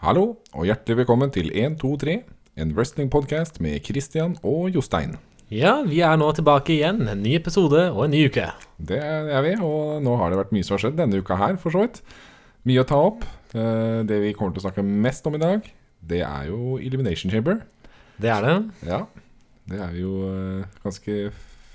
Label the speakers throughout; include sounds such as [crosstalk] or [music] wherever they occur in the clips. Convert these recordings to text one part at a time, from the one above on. Speaker 1: Hallo, og hjertelig velkommen til 123, en wrestlingpodkast med Christian og Jostein.
Speaker 2: Ja, vi er nå tilbake igjen. En ny episode og en ny uke.
Speaker 1: Det er vi, og nå har det vært mye som har skjedd denne uka her, for så vidt. Mye å ta opp. Eh, Det vi kommer til å snakke mest om i dag, det er jo Elimination Chamber.
Speaker 2: Det er det.
Speaker 1: Ja, det er jo eh, ganske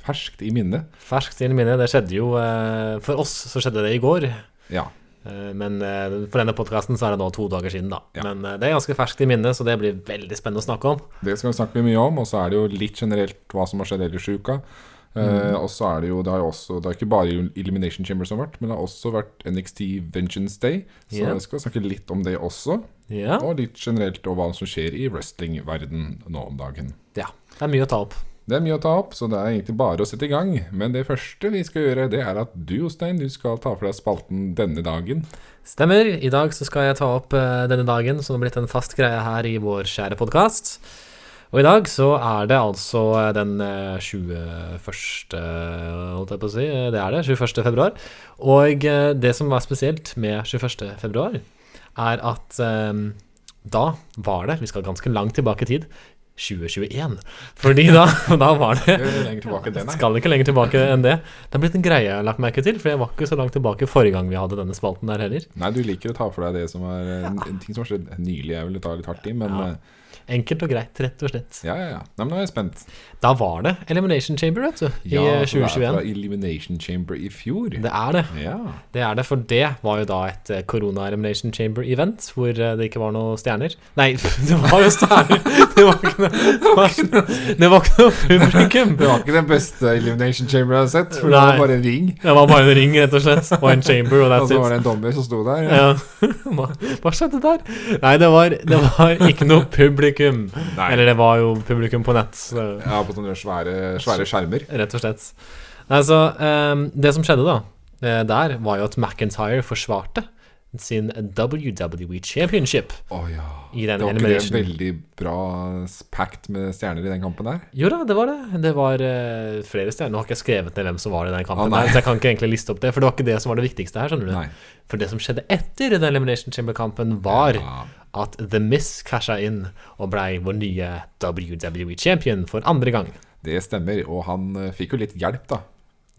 Speaker 1: ferskt i minnet.
Speaker 2: Ferskt inn i minnet. Det skjedde jo eh, For oss så skjedde det i går.
Speaker 1: Ja,
Speaker 2: Eh, men eh, for denne podkasten så er det nå to dager siden, da.
Speaker 1: Ja.
Speaker 2: Men eh, det er ganske ferskt i minnet, så det blir veldig spennende å snakke om.
Speaker 1: det skal vi snakke mye om, og så er det jo litt generelt hva som har skjedd ellers i uka. Eh,
Speaker 2: Mm.
Speaker 1: og så er det jo, det har jo også, det er ikke bare Elimination Chamber som har vært, men det har også vært NXT Vengeance Day, så
Speaker 2: Ja.
Speaker 1: vi skal snakke litt om det også.
Speaker 2: Ja.
Speaker 1: Og litt generelt om hva som skjer i wrestlingverden nå om dagen.
Speaker 2: ja. Det er mye å ta opp.
Speaker 1: Det er mye å ta opp, så det er egentlig bare å sette i gang. Men det første vi skal gjøre, det er at du, Jostein, du skal ta for deg spalten denne dagen.
Speaker 2: [laughs] Stemmer. I dag så skal jeg ta opp eh, denne dagen, som har blitt en fast greie her i vår kjære podkast. Og i dag så er det altså eh, den eh, 21. holdt jeg på å si, eh, det er det, 21. februar. Og eh, det som var spesielt med 21. februar, er at eh, da var det, vi skal ganske langt tilbake i tid, 2021. Fordi da, da [laughs] var det
Speaker 1: Det er lenger tilbake enn den, nei.
Speaker 2: skal ikke lenger tilbake enn det. Det har blitt en greie jeg har lagt merke til, for jeg var ikke så langt tilbake forrige gang vi hadde denne spalten der heller.
Speaker 1: Nei, du liker å ta for deg det som er eh, n- ting som har skjedd nylig. Jeg vil ta litt hardt i, men
Speaker 2: Ja.
Speaker 1: eh,
Speaker 2: Enkelt og greit, rett og slett.
Speaker 1: ja, ja, ja. Nei, men nå er jeg spent.
Speaker 2: Da var det Elimination Chamber, vet du, i
Speaker 1: Ja,
Speaker 2: eh,
Speaker 1: så Det er fra
Speaker 2: 2021.
Speaker 1: Elimination Chamber i fjor.
Speaker 2: Det er det.
Speaker 1: Ja.
Speaker 2: Det er det, for det var jo da et eh, Corona Elimination Chamber-event hvor eh, det ikke var noen stjerner. Nei, [laughs] det var jo stjerner! Det var ikke
Speaker 1: [laughs]
Speaker 2: noe, det var, det var ikke noe publikum!
Speaker 1: Det var ikke den beste Elimination Chamber jeg har sett, for det
Speaker 2: Nei.
Speaker 1: var bare en ring.
Speaker 2: Det var bare en ring, rett og slett, og en chamber, og
Speaker 1: Og
Speaker 2: that's
Speaker 1: så
Speaker 2: it.
Speaker 1: var det en dommer som sto der.
Speaker 2: Ja. [laughs] Hva, hva skjedde der? Nei, det var, det var ikke noe publikum.
Speaker 1: Nei.
Speaker 2: Eller det var jo publikum på nett, så,
Speaker 1: Ja, på sånne svære, svære skjermer.
Speaker 2: rett og slett. Nei, så ehm, Det som skjedde da, eh, der, var jo at McIntyre forsvarte sin WWE Championship
Speaker 1: Å ja.
Speaker 2: i den
Speaker 1: Det var ikke det
Speaker 2: elimination.
Speaker 1: veldig bra packed med stjerner i den kampen der?
Speaker 2: Jo da, det var det. Det var eh, flere stjerner. Nå har ikke jeg skrevet ned hvem som var i den
Speaker 1: Ah,
Speaker 2: kampen,
Speaker 1: nei.
Speaker 2: her, så jeg kan ikke egentlig liste opp det. For det var ikke det som var det viktigste her, skjønner du.
Speaker 1: Nei.
Speaker 2: For det som skjedde etter den Elimination Chamber-kampen, var
Speaker 1: Ja.
Speaker 2: at The Miss casha inn og blei vår nye WWE Champion for andre gang.
Speaker 1: Det stemmer, og han eh, fikk jo litt hjelp, da,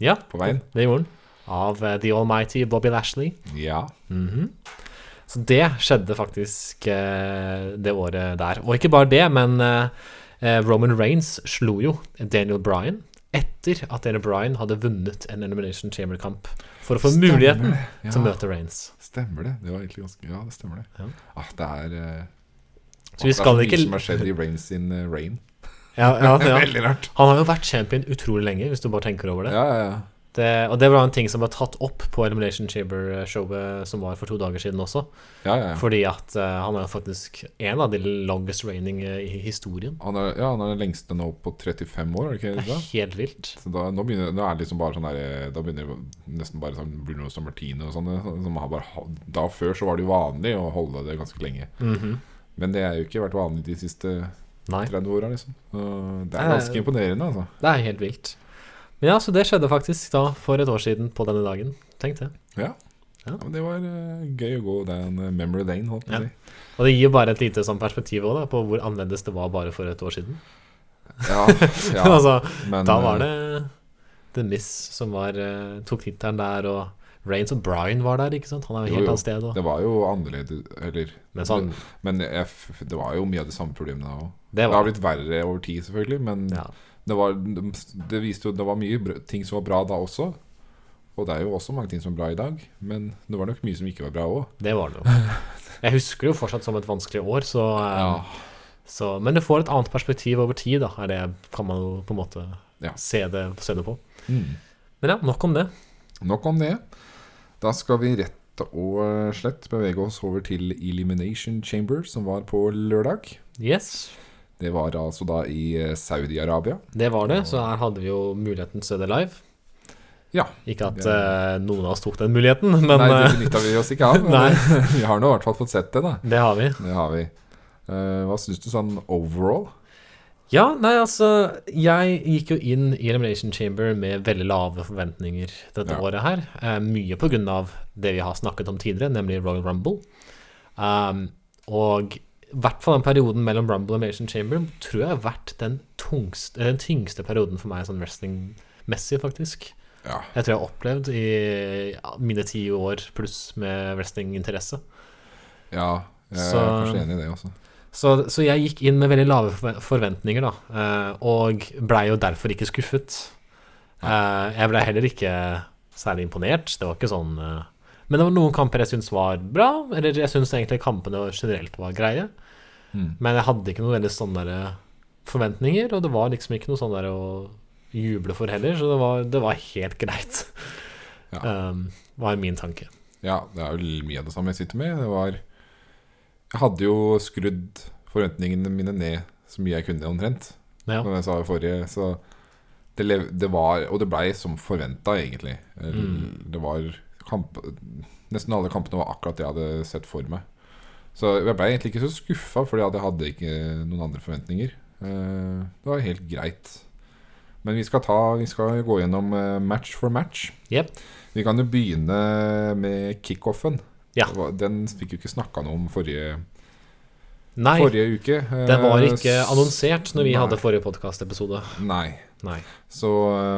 Speaker 2: Ja,
Speaker 1: på veien.
Speaker 2: det gjorde han. Av eh, The Almighty Bobby Lashley.
Speaker 1: Ja.
Speaker 2: Mhm. Så det skjedde faktisk eh, det året der. Og ikke bare det, men eh, eh, Roman Reigns slo jo Daniel Bryan etter at Daniel Bryan hadde vunnet en Elimination Chamber-kamp for å få
Speaker 1: Stemmer
Speaker 2: muligheten
Speaker 1: det, ja.
Speaker 2: til å møte Reigns.
Speaker 1: Stemmer det. Det var egentlig ganske Ja, det stemmer det.
Speaker 2: Ja.
Speaker 1: Ah, det er eh,
Speaker 2: Så vi
Speaker 1: det er
Speaker 2: skal
Speaker 1: mye
Speaker 2: ikke-
Speaker 1: som har skjedd i Rain sin eh, Rain.
Speaker 2: Ja, ja,
Speaker 1: Det er
Speaker 2: ja.
Speaker 1: [laughs] Veldig rart.
Speaker 2: Han har jo vært champion utrolig lenge, hvis du bare tenker over det.
Speaker 1: Ja, ja, ja.
Speaker 2: det og det var en ting som var tatt opp på Elimination Chamber-showet som var for to dager siden også.
Speaker 1: ja, ja, ja.
Speaker 2: Fordi at eh, han er jo faktisk en av de longest reigning eh, i historien.
Speaker 1: Han er, ja, han er den lengste nå på 35 år, er det ikke
Speaker 2: Det
Speaker 1: det? da?
Speaker 2: er helt vilt.
Speaker 1: Så da, nå, begynner, nå er det liksom bare sånn der eh, Da begynner det nesten bare sånn Bruno San Martino og sånne som har bare, ha- Da før så var det jo vanlig å holde det ganske lenge.
Speaker 2: Mhm.
Speaker 1: Men det har jo ikke vært vanlig de siste
Speaker 2: Nei.
Speaker 1: 30 åra, liksom. Så Det er
Speaker 2: Nei.
Speaker 1: ganske imponerende, altså.
Speaker 2: Det er helt vilt. Men ja, så det skjedde faktisk da for et år siden på denne dagen. Tenk det.
Speaker 1: Ja.
Speaker 2: Ja.
Speaker 1: Ja, men det var eh, gøy å gå den eh, memory lane, holdt jeg på å
Speaker 2: Ja.
Speaker 1: si.
Speaker 2: Og det gir jo bare et lite sånn perspektiv også, da, på hvor annerledes det var bare for et år siden.
Speaker 1: Ja,
Speaker 2: [laughs]
Speaker 1: ja,
Speaker 2: altså,
Speaker 1: men,
Speaker 2: da var
Speaker 1: eh,
Speaker 2: det The Miss som var, eh, tok tittelen der, og Reigns og Bryan var der, ikke sant? Han er
Speaker 1: Jo,
Speaker 2: jo helt
Speaker 1: jo.
Speaker 2: annet sted. Og,
Speaker 1: eh, Det var jo annerledes, eller
Speaker 2: men sånn,
Speaker 1: Men jeg, f- det var jo mye av de samme problemene da òg.
Speaker 2: det
Speaker 1: Det har
Speaker 2: var
Speaker 1: blitt verre over tid, selvfølgelig, men
Speaker 2: ja.
Speaker 1: det, var, det viste jo det var mye br- ting som var bra da også. Og det er jo også mange ting som er bra i dag, men det var nok mye som ikke var bra òg.
Speaker 2: Det
Speaker 1: [laughs]
Speaker 2: var det jo. Jeg husker det jo fortsatt som et vanskelig år, så, eh, så Men du får et annet perspektiv over tid, da. Er det kan man jo på en måte
Speaker 1: Ja.
Speaker 2: se, det, se det på.
Speaker 1: Mm.
Speaker 2: Men ja, nok om det.
Speaker 1: Nok om det. Da skal vi rett og slett bevege oss over til Elimination Chamber, som var på lørdag.
Speaker 2: Yes.
Speaker 1: Det var altså da i eh, Saudi-Arabia.
Speaker 2: Det var det, så her hadde vi jo muligheten til å se det live.
Speaker 1: Ja.
Speaker 2: Ikke at
Speaker 1: Det-
Speaker 2: eh, noen av oss tok den muligheten, [laughs] men
Speaker 1: Nei, det
Speaker 2: eh,
Speaker 1: benytta vi oss
Speaker 2: [laughs]
Speaker 1: ikke av.
Speaker 2: Nei.
Speaker 1: Men eh, [laughs] vi har nå i hvert fall fått sett det, da.
Speaker 2: det har vi.
Speaker 1: Det har vi. Eh, hva syns du sånn overall?
Speaker 2: Ja, nei, altså Jeg gikk jo inn i Elimination Chamber med veldig lave forventninger dette
Speaker 1: Ja.
Speaker 2: året her. Eh, mye på grunn av det vi har snakket om tidligere, nemlig Royal Rumble. Um, Og i hvert fall den perioden mellom Rumble og Mason Chamber tror jeg har vært den, tungst, eh, den tyngste perioden for meg sånn wrestlingmessig, faktisk.
Speaker 1: Ja.
Speaker 2: Jeg tror jeg har opplevd i ja, mine ti år pluss med wrestlinginteresse.
Speaker 1: Ja, jeg er
Speaker 2: Så-
Speaker 1: kanskje enig i det også.
Speaker 2: Så, så jeg gikk inn med veldig lave forve- forventninger, da, eh, og blei jo derfor ikke skuffet. Eh, Jeg blei heller ikke særlig imponert. Det var ikke sånn eh, Men det var noen kamper jeg syntes var bra, eller jeg syns egentlig kampene generelt var greie.
Speaker 1: Mm.
Speaker 2: Men jeg hadde ikke noen veldig sånne der forventninger, og det var liksom ikke noe sånn der å juble for heller, så det var, det var helt greit.
Speaker 1: Ja.
Speaker 2: [laughs] Um, var min tanke.
Speaker 1: Ja, det er vel mye av det samme jeg sitter med. Det var Jeg hadde jo skrudd forventningene mine ned så mye jeg kunne, omtrent.
Speaker 2: Ja.
Speaker 1: Som jeg sa i forrige, så det, lev, det var Og det blei som forventa, egentlig. Eh,
Speaker 2: Mm.
Speaker 1: Det var kamp, Nesten alle kampene var akkurat det jeg hadde sett for meg. Så jeg blei egentlig ikke så skuffa, fordi at jeg hadde ikke noen andre forventninger. Eh, Det var helt greit. Men vi skal, ta, vi skal gå gjennom eh, match for match.
Speaker 2: Jep.
Speaker 1: Vi kan jo begynne med kickoffen.
Speaker 2: Ja.
Speaker 1: Det var- Den fikk jo ikke snakka noe om forrige,
Speaker 2: Nei,
Speaker 1: forrige uke. eh,
Speaker 2: den var ikke
Speaker 1: s-
Speaker 2: annonsert når vi
Speaker 1: Nei.
Speaker 2: hadde forrige podkastepisode.
Speaker 1: Nei.
Speaker 2: Nei.
Speaker 1: Så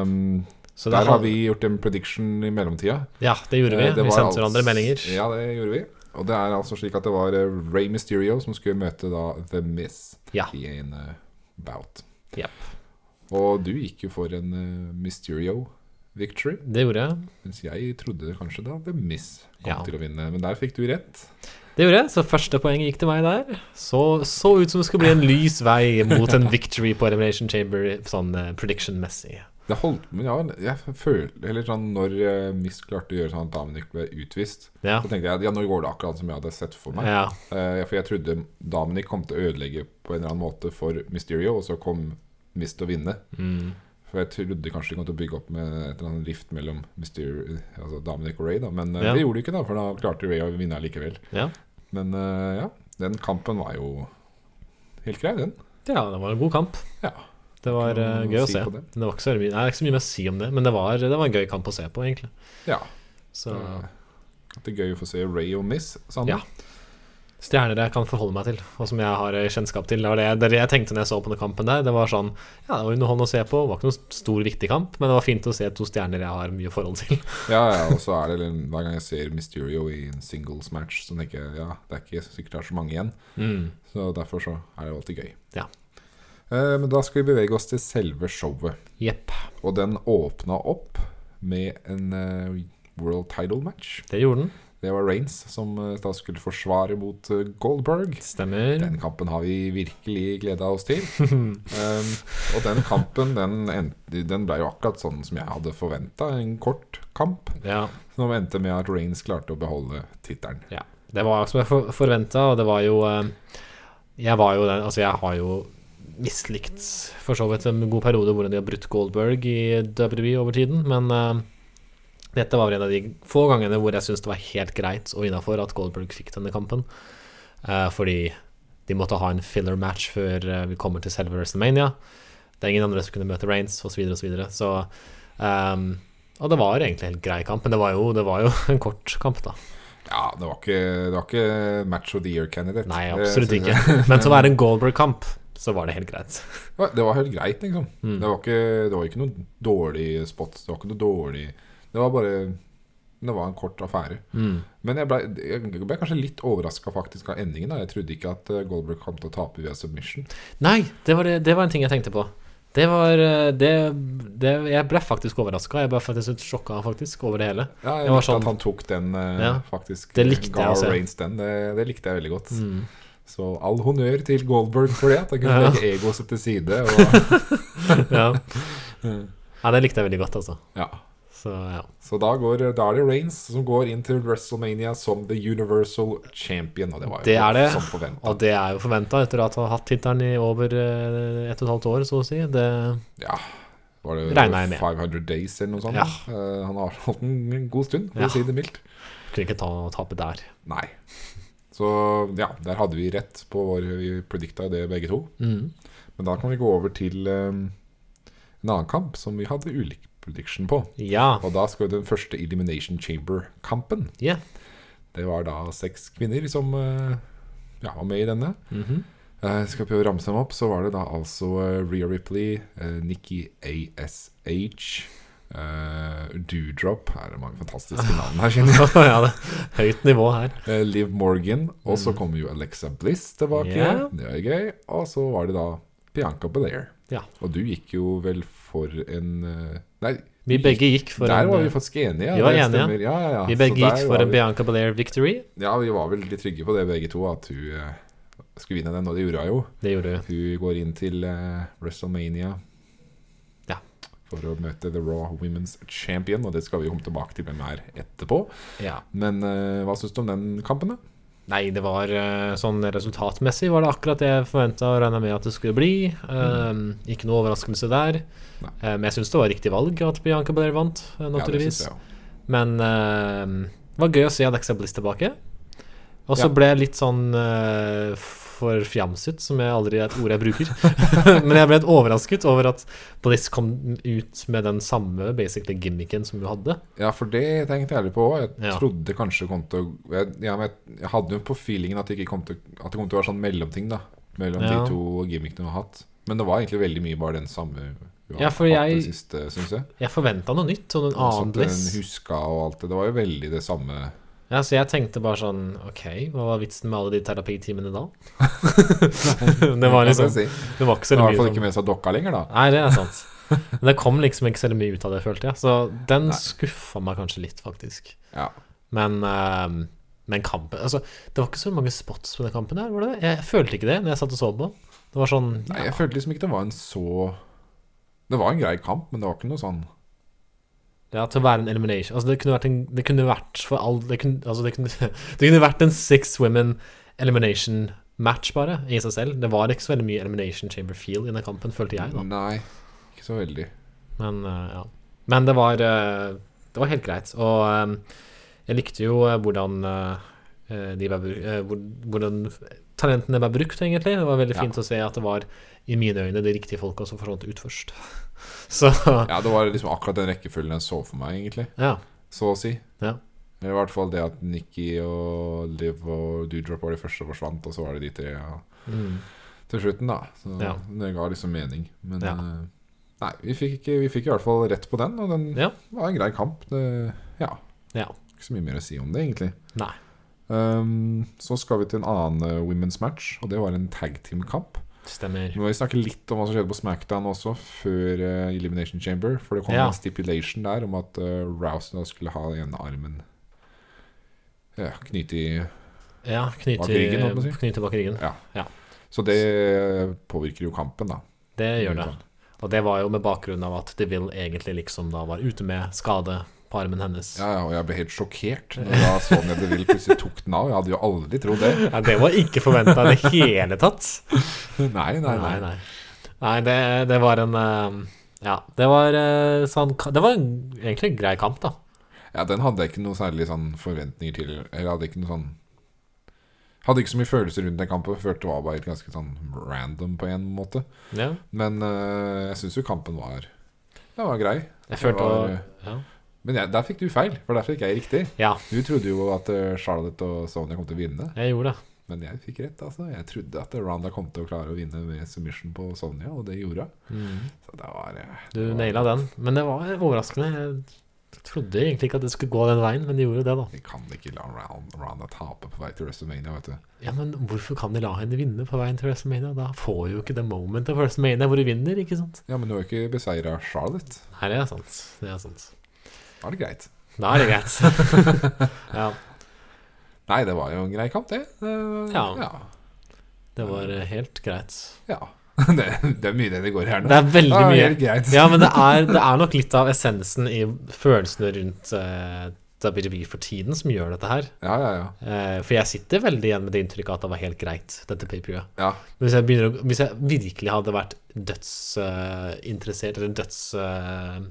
Speaker 1: um,
Speaker 2: Så
Speaker 1: der
Speaker 2: det
Speaker 1: har
Speaker 2: had-
Speaker 1: vi gjort en prediction i mellomtida.
Speaker 2: Ja, det gjorde vi.
Speaker 1: Eh, det
Speaker 2: vi
Speaker 1: var altså-
Speaker 2: sendte hverandre meldinger.
Speaker 1: Ja, det gjorde vi. Og det er altså slik at det var eh, Ray Mysterio som skulle møte da The Miss
Speaker 2: Ja.
Speaker 1: i en eh, bout.
Speaker 2: Jep.
Speaker 1: Og du gikk jo for en eh, Mysterio victory,
Speaker 2: Det gjorde jeg.
Speaker 1: mens jeg trodde kanskje da The Miss kom
Speaker 2: Ja.
Speaker 1: til å vinne. Men der fikk du rett.
Speaker 2: Det gjorde jeg, Så første poeng gikk til meg der. Så, så ut som det skulle bli en lys vei mot en victory på Elimination Chamber, sånn eh, prediction-messig.
Speaker 1: Det holdt Men ja, jeg føler Eller sånn når eh, Miss klarte å gjøre sånn at Dominic ble utvist,
Speaker 2: Ja.
Speaker 1: så tenkte jeg ja, nå går det akkurat som jeg hadde sett for meg.
Speaker 2: ja.
Speaker 1: Eh, for jeg trodde Dominic kom til å ødelegge på en eller annen måte for Mysterio, og så kom Miss til å vinne.
Speaker 2: Mm.
Speaker 1: For jeg trodde kanskje de kom til å bygge opp med et eller annet rift mellom Mysterio, altså Dominic og Ray, da. men eh,
Speaker 2: Ja.
Speaker 1: det gjorde de ikke, da, for da klarte Ray å vinne likevel.
Speaker 2: ja.
Speaker 1: Men eh, ja, den kampen var jo helt grei, den.
Speaker 2: Ja, det var en god kamp.
Speaker 1: Ja.
Speaker 2: Det var
Speaker 1: Ikke noe
Speaker 2: eh,
Speaker 1: å
Speaker 2: gøy å
Speaker 1: si
Speaker 2: se.
Speaker 1: på
Speaker 2: Det.
Speaker 1: det.
Speaker 2: var ikke så, veldig mye- nei, det er ikke så mye mer å si om det, men det var, det var en gøy kamp å se på, egentlig.
Speaker 1: Ja.
Speaker 2: Så
Speaker 1: Eh, det er gøy å få se Ray og Miss sammen.
Speaker 2: Ja. Stjerner jeg kan forholde meg til, og som jeg har eh, kjennskap til. Det var det, jeg- det er det jeg tenkte når jeg så på den kampen der. Det var sånn Ja, det var underholdende å se på. Det var ikke noen stor, viktig kamp, men det var fint å se to stjerner jeg har mye forhold til.
Speaker 1: Ja, ja, og så er det liksom, hver gang jeg ser Mysterio i en singles match, så tenker jeg ja, det er ikke sikkert det er så mange igjen.
Speaker 2: Mm.
Speaker 1: Så derfor så er det jo alltid gøy.
Speaker 2: Ja.
Speaker 1: Eh, men da skal vi bevege oss til selve showet.
Speaker 2: Jepp.
Speaker 1: Og den åpna opp med en eh, world title match.
Speaker 2: Det gjorde den.
Speaker 1: Det var Reigns som eh, da skulle forsvare mot eh, Goldberg.
Speaker 2: Stemmer.
Speaker 1: Den kampen har vi virkelig gleda oss til. Um, og den kampen den, endte- den ble jo akkurat sånn som jeg hadde forventa. En kort kamp
Speaker 2: Ja.
Speaker 1: som endte med at Reigns klarte å beholde tittelen.
Speaker 2: Ja. Det var som jeg for forventa, og det var jo eh, Jeg var jo den Altså, jeg har jo mislikt for så vidt en god periode hvordan de har brutt Goldberg i WWE over tiden, men eh, dette var vel en av de få gangene hvor jeg syns det var helt greit og innafor at Goldberg fikk denne kampen, eh, fordi de måtte ha en filler match før eh, vi kommer til selve WrestleMania. Det er ingen andre som kunne møte Reigns, osv., osv. Så, videre, så eh, Og det var egentlig en helt grei kamp, men det var jo, det var jo [laughs] en kort kamp, da.
Speaker 1: Ja, det var ikke, det var ikke match of the year Eh, candidate.
Speaker 2: Nei,
Speaker 1: Det
Speaker 2: absolutt
Speaker 1: synes jeg-
Speaker 2: ikke. [laughs] Men til å være en Goldberg-kamp, så var det helt greit.
Speaker 1: Ja, Det var helt greit, liksom.
Speaker 2: Mm.
Speaker 1: Det, var ikke, det var ikke noen dårlig spot. Det var ikke noe dårlig Det var bare Det var en kort affære.
Speaker 2: Mm.
Speaker 1: Men jeg ble, jeg ble kanskje litt overraska faktisk av endingen. Da. Jeg trodde ikke at eh, Goldberg kom til å tape via submission.
Speaker 2: Nei, det var, det, det var en ting jeg tenkte på. Det var eh, det, det, Jeg ble faktisk overraska. Jeg ble faktisk litt sjokka faktisk, over det hele.
Speaker 1: Ja, jeg
Speaker 2: Det var
Speaker 1: likte
Speaker 2: sånn-
Speaker 1: at han tok den, eh,
Speaker 2: Ja.
Speaker 1: faktisk.
Speaker 2: Det likte
Speaker 1: ga
Speaker 2: jeg å se.
Speaker 1: Reigns den. Det, det likte jeg veldig godt.
Speaker 2: Mm.
Speaker 1: Så all honnør til Goldberg for det. At han kunne
Speaker 2: Ja.
Speaker 1: legge egoet sitt til side. Og,
Speaker 2: [laughs]
Speaker 1: [laughs]
Speaker 2: Ja. [laughs] ja, det likte jeg veldig godt, altså.
Speaker 1: ja.
Speaker 2: Så ja.
Speaker 1: Så da, går, da er det Reigns som går inn til WrestleMania som The Universal Champion. Og det var jo
Speaker 2: Det er det.
Speaker 1: som forventa.
Speaker 2: Og det er jo forventa etter at han har hatt tittelen i over eh, ett og et halvt år, så å si. Det,
Speaker 1: Ja, var det
Speaker 2: Regner jeg med.
Speaker 1: 500 days eller noe sånt?
Speaker 2: Ja.
Speaker 1: Eh, han har holdt den en god stund, for
Speaker 2: Ja.
Speaker 1: å si det mildt.
Speaker 2: kunne ikke ta tape der.
Speaker 1: Nei. Så ja, der hadde vi rett på vår Vi predikta det begge to.
Speaker 2: Mm.
Speaker 1: Men da kan vi gå over til eh, en annen kamp som vi hadde ulik prediction på.
Speaker 2: Ja.
Speaker 1: Og da skal jo den første Elimination Chamber-kampen.
Speaker 2: Yeah.
Speaker 1: Det var da seks kvinner som eh, ja, var med i denne.
Speaker 2: Mhm.
Speaker 1: Eh, skal prøve å ramse dem opp, så var det da altså eh, Rhea Ripley, eh, Nikki ASH eh, Doodrop Her er det mange
Speaker 2: [laughs]
Speaker 1: fantastiske navn her, kjenner jeg.
Speaker 2: [laughs] ja, det er høyt nivå her.
Speaker 1: Eh, Liv Morgan. Og så kommer jo Alexa Bliss tilbake.
Speaker 2: Mm. Ja.
Speaker 1: Det var gøy. Og så var det da Bianca Belair.
Speaker 2: Ja.
Speaker 1: Og du gikk jo vel for en eh, Nei,
Speaker 2: Vi begge gikk for
Speaker 1: der
Speaker 2: en, eh,
Speaker 1: var vi faktisk enige. ja,
Speaker 2: Vi var
Speaker 1: det
Speaker 2: enige, ja.
Speaker 1: stemmer. Ja, ja, ja.
Speaker 2: vi
Speaker 1: Så
Speaker 2: begge
Speaker 1: der
Speaker 2: gikk
Speaker 1: var
Speaker 2: for en
Speaker 1: vi-
Speaker 2: Bianca Belair victory.
Speaker 1: Ja, vi var vel litt trygge på det begge to, at hun eh, skulle vinne den, og det gjorde hun jo.
Speaker 2: Det gjorde vi.
Speaker 1: Hun går inn til eh, WrestleMania
Speaker 2: Ja.
Speaker 1: for å møte The Raw Women's Champion, og det skal vi jo komme tilbake til hvem er etterpå.
Speaker 2: Ja.
Speaker 1: Men eh, hva syns du om den kampen, da?
Speaker 2: Nei, det var eh, sånn resultatmessig var det akkurat det jeg forventa og regna med at det skulle bli. Ehm, Ikke noe overraskelse der.
Speaker 1: Mm. Nei.
Speaker 2: Eh, Men jeg syns det var riktig valg at Bianca Belair vant, eh, naturligvis.
Speaker 1: Ja, det synes jeg også.
Speaker 2: Men ehm, det var gøy å se Alexa Bliss tilbake. Og så
Speaker 1: Ja.
Speaker 2: ble jeg litt sånn eh, forfjamset, som jeg aldri er et ord jeg bruker. [laughs] Men jeg ble litt overrasket over at Bliss kom ut med den samme basically gimmicken som hun hadde.
Speaker 1: ja, for det tenkte jeg litt på òg. Jeg
Speaker 2: Ja.
Speaker 1: trodde kanskje det kom til å jeg, ja, men jeg, jeg hadde jo på feelingen at det, ikke kom til, at det kom til å være sånn mellomting, da. Mellom
Speaker 2: Ja.
Speaker 1: de to gimmickene hun har hatt. Men det var egentlig veldig mye bare den samme hun har
Speaker 2: Ja, for
Speaker 1: hatt
Speaker 2: jeg-
Speaker 1: det siste, syns jeg.
Speaker 2: Jeg forventa noe nytt, sånn en
Speaker 1: Sånn
Speaker 2: annen
Speaker 1: at den
Speaker 2: Bliss.
Speaker 1: huska og alt det. Det var jo veldig det samme.
Speaker 2: Ja, så jeg tenkte bare sånn Ok, hva var vitsen med alle de terapitimene
Speaker 1: [laughs]
Speaker 2: da? det var
Speaker 1: kan jeg
Speaker 2: liksom
Speaker 1: si.
Speaker 2: Det var ikke så
Speaker 1: Det var i hvert fall
Speaker 2: veldig mye
Speaker 1: ikke
Speaker 2: sånn
Speaker 1: med seg dokka lenger, da.
Speaker 2: Nei, det er sant. Men det kom liksom ikke så veldig mye ut av det, følte jeg. Så den
Speaker 1: Nei.
Speaker 2: skuffa meg kanskje litt, faktisk.
Speaker 1: Ja.
Speaker 2: Men ehm, men kampen Altså, det var ikke så mange spots på den kampen her, var det det? Jeg følte ikke det når jeg satt og så på. Det var sånn
Speaker 1: Nei, jeg følte liksom ikke det var en så Det var en grei kamp, men det var ikke noe sånn
Speaker 2: Ja, til å være en elimination. Altså, det kunne vært, en, det kunne vært for all det kunne, altså, det, kunne, [laughs] det kunne vært en six women elimination match, bare, i seg selv. Det var ikke så veldig mye elimination chamber feel i den kampen, følte jeg, da.
Speaker 1: Nei, ikke så veldig.
Speaker 2: Men, eh, ja. Men det var eh, Det var helt greit. Og eh, jeg likte jo eh, hvordan eh, eh, de ble, bru- eh, hvor- hvordan talentene ble brukt, egentlig. Det var veldig
Speaker 1: Ja.
Speaker 2: fint å se at det var, i mine øyne, de riktige folka som forsvant ut først. [laughs] Så
Speaker 1: Ja, det var liksom akkurat den rekkefølgen jeg så for meg, egentlig.
Speaker 2: ja.
Speaker 1: Så å si.
Speaker 2: Ja.
Speaker 1: Eller i hvert fall det at Nikki og Liv og Doodrop var de første som forsvant, og så var det de tre ja.
Speaker 2: Mm.
Speaker 1: til slutten, da. Så
Speaker 2: Ja.
Speaker 1: det ga liksom mening. Men
Speaker 2: Ja.
Speaker 1: eh, nei, vi fikk, vi fikk i hvert fall rett på den, og den
Speaker 2: Ja.
Speaker 1: var en grei kamp. Det, ja.
Speaker 2: Ja.
Speaker 1: Ikke så mye mer å si om det, egentlig.
Speaker 2: Nei.
Speaker 1: Ehm, så skal vi til en annen eh, women's match, og det var en tag team-kamp.
Speaker 2: Stemmer.
Speaker 1: Nå må vi snakke litt om hva som skjedde på SmackDown også, før eh, Elimination Chamber. For det kom
Speaker 2: Ja.
Speaker 1: en stipulation der om at uh, Rouse nå skulle ha den ene armen ja, knyte i
Speaker 2: Ja, knyte
Speaker 1: Bak ryggen, holdt jeg på å si.
Speaker 2: knyte bak ryggen.
Speaker 1: Så det eh, påvirker jo kampen, da.
Speaker 2: Det gjør det. Og det var jo med bakgrunn av at Deville egentlig liksom da var ute med skade på armen hennes.
Speaker 1: Ja, ja, og jeg ble helt sjokkert når jeg da så ned Deville plutselig tok den av. Jeg hadde jo aldri trodd det.
Speaker 2: [laughs] Ja, det var ikke forventa i det hele tatt.
Speaker 1: Nei, [laughs] nei, nei.
Speaker 2: nei. Nei, det, det var en eh, Ja, det var eh, sånn ka- Det var en, egentlig en grei kamp, da.
Speaker 1: Ja, den hadde jeg ikke noe særlig sånn forventninger til. Eller hadde ikke noe sånn Hadde ikke så mye følelser rundt den kampen. Følte det var bare ganske sånn random på en måte.
Speaker 2: Ja.
Speaker 1: Men eh, jeg syns jo kampen var Den var grei.
Speaker 2: Jeg følte
Speaker 1: var- eh,
Speaker 2: å ja.
Speaker 1: Men jeg, der fikk du feil, for der fikk jeg riktig.
Speaker 2: ja,
Speaker 1: Du trodde jo at eh, Charlotte og Sonja kom til å vinne,
Speaker 2: jeg gjorde det.
Speaker 1: men jeg fikk rett. altså Jeg trodde at Ronda kom til å klare å vinne med submission på Sonja, og det gjorde hun. Så det var eh,
Speaker 2: Du
Speaker 1: det var-
Speaker 2: naila den. Men det var overraskende. Jeg trodde egentlig ikke at det skulle gå den veien, men det gjorde det, da.
Speaker 1: Vi kan ikke la Ron- Ronda tape på vei til WrestleMania, vet du.
Speaker 2: Ja, men hvorfor kan de la henne vinne på veien til WrestleMania? Da får vi jo ikke det momentet for WrestleMania hvor de vinner, ikke sant?
Speaker 1: Ja, men du har jo ikke beseira Charlotte.
Speaker 2: Nei, det er sant. Det er sant.
Speaker 1: Da er det greit.
Speaker 2: Da er det greit. [laughs] ja,
Speaker 1: Nei, det var jo en grei kamp, det. Eh,
Speaker 2: Ja.
Speaker 1: ja.
Speaker 2: det var eh, helt greit.
Speaker 1: ja. [laughs] det, det er mye det det går i her nå.
Speaker 2: Det er veldig
Speaker 1: Ja,
Speaker 2: mye.
Speaker 1: helt greit.
Speaker 2: Ja, men det er, det er nok litt av essensen i følelsene rundt uh, WWE for tiden som gjør dette her.
Speaker 1: Ja, ja, ja.
Speaker 2: Eh, for jeg sitter veldig igjen med det inntrykket at det var helt greit, dette papiret.
Speaker 1: ja.
Speaker 2: Men hvis jeg, begynner, å- hvis jeg virkelig hadde vært dødsinteressert, eller døds... eh,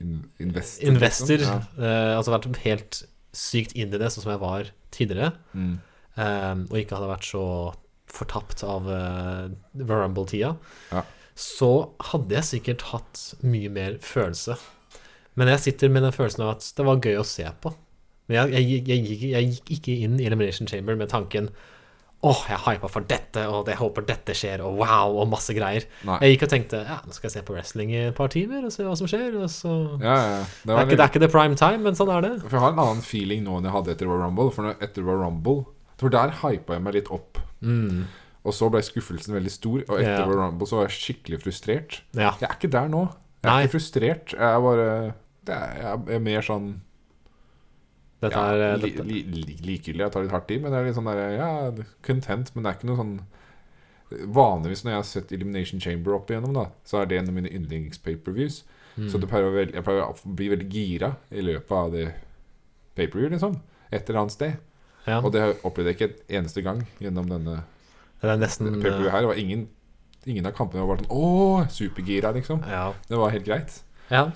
Speaker 1: In investor.
Speaker 2: investor,
Speaker 1: liksom. Ja.
Speaker 2: eh, altså vært helt sykt inn i det, sånn som jeg var tidligere,
Speaker 1: Mm.
Speaker 2: eh, og ikke hadde vært så fortapt av uh, Rumble-tida,
Speaker 1: Ja.
Speaker 2: så hadde jeg sikkert hatt mye mer følelse. Men jeg sitter med den følelsen av at det var gøy å se på. Men jeg, jeg, jeg, jeg, gikk- jeg gikk ikke inn i Elimination Chamber med tanken Åh, jeg hypa for dette, og jeg håper dette skjer, og wow, og masse greier.
Speaker 1: Nei.
Speaker 2: Jeg gikk og tenkte ja, nå skal jeg se på wrestling i et par timer og se hva som skjer. Og så
Speaker 1: Ja, ja, ja. Det
Speaker 2: det, er
Speaker 1: var
Speaker 2: ikke, det er ikke det prime time, men sånn er det.
Speaker 1: For jeg har en annen feeling nå enn jeg hadde etter Royal Rumble. For når, etter Royal Rumble For der hypa jeg meg litt opp.
Speaker 2: Mm.
Speaker 1: Og så ble skuffelsen veldig stor. Og etter
Speaker 2: Ja.
Speaker 1: Royal Rumble så var jeg skikkelig frustrert.
Speaker 2: Ja.
Speaker 1: Jeg er ikke der nå. Jeg er
Speaker 2: Nei.
Speaker 1: ikke frustrert. Jeg er bare det er, Jeg er mer sånn
Speaker 2: Dette
Speaker 1: ja,
Speaker 2: er eh,
Speaker 1: li,
Speaker 2: dette.
Speaker 1: li, li, likegyldig. Jeg tar litt hardt i, men det er litt sånn der, ja, content. Men det er ikke noe sånn Vanligvis når jeg har sett Elimination Chamber opp igjennom, da så er det en av mine yndlings-paperviews.
Speaker 2: Mm.
Speaker 1: Så det pleier å være veld- jeg pleier å bli veldig gira i løpet av det paperview, liksom. Et eller annet sted.
Speaker 2: ja.
Speaker 1: Og det har- opplevde jeg ikke en eneste gang gjennom denne
Speaker 2: Det er nesten
Speaker 1: denne pay-per-view her. Det var ingen, ingen av kampene var bare sånn Åh, supergira, liksom.
Speaker 2: eh, Ja.
Speaker 1: Det var helt greit.
Speaker 2: ja.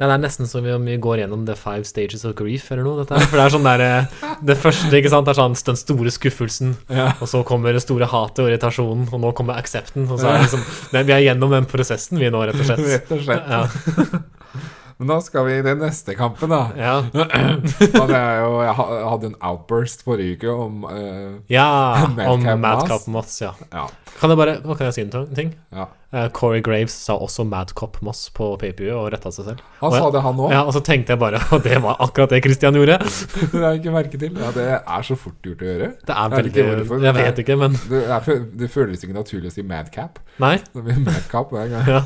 Speaker 2: Nei, det er nesten som om vi går gjennom The Five Stages of Grief eller noe. Dette her. For det er sånn der eh, Det første ikke sant, er sånn den store skuffelsen,
Speaker 1: Ja.
Speaker 2: og så kommer det store hatet og irritasjonen, og nå kommer aksepten. Og så er det liksom Nei, Vi er gjennom den prosessen, vi nå, rett og slett.
Speaker 1: [laughs] Rett og slett.
Speaker 2: Ja.
Speaker 1: Men da skal vi i den neste kampen,
Speaker 2: [laughs]
Speaker 1: da.
Speaker 2: ja.
Speaker 1: Hadde jeg, jo, jeg ha- jeg hadde en outburst forrige uke om eh,
Speaker 2: Ja, om
Speaker 1: [laughs] Madcap Moss.
Speaker 2: Madcap Moss, ja.
Speaker 1: Ja.
Speaker 2: Kan jeg bare, hva kan jeg si en ting?
Speaker 1: ja.
Speaker 2: Eh, Corey Graves sa også Madcop Moss på PPU og retta seg selv.
Speaker 1: Han
Speaker 2: Å, ja.
Speaker 1: sa det, han òg.
Speaker 2: Ja, Og så tenkte jeg bare [laughs] Og det var akkurat det Christian gjorde!
Speaker 1: [laughs] Det har jeg ikke merke til. Ja, det er så fort gjort å gjøre.
Speaker 2: Det
Speaker 1: Jeg
Speaker 2: er
Speaker 1: vet
Speaker 2: veldig
Speaker 1: ikke hvorfor, men
Speaker 2: Jeg
Speaker 1: det er-
Speaker 2: vet ikke, men
Speaker 1: Det, er, det føles ikke naturlig å si madcap.
Speaker 2: Nei.
Speaker 1: Det blir madcap hver gang.
Speaker 2: Ja.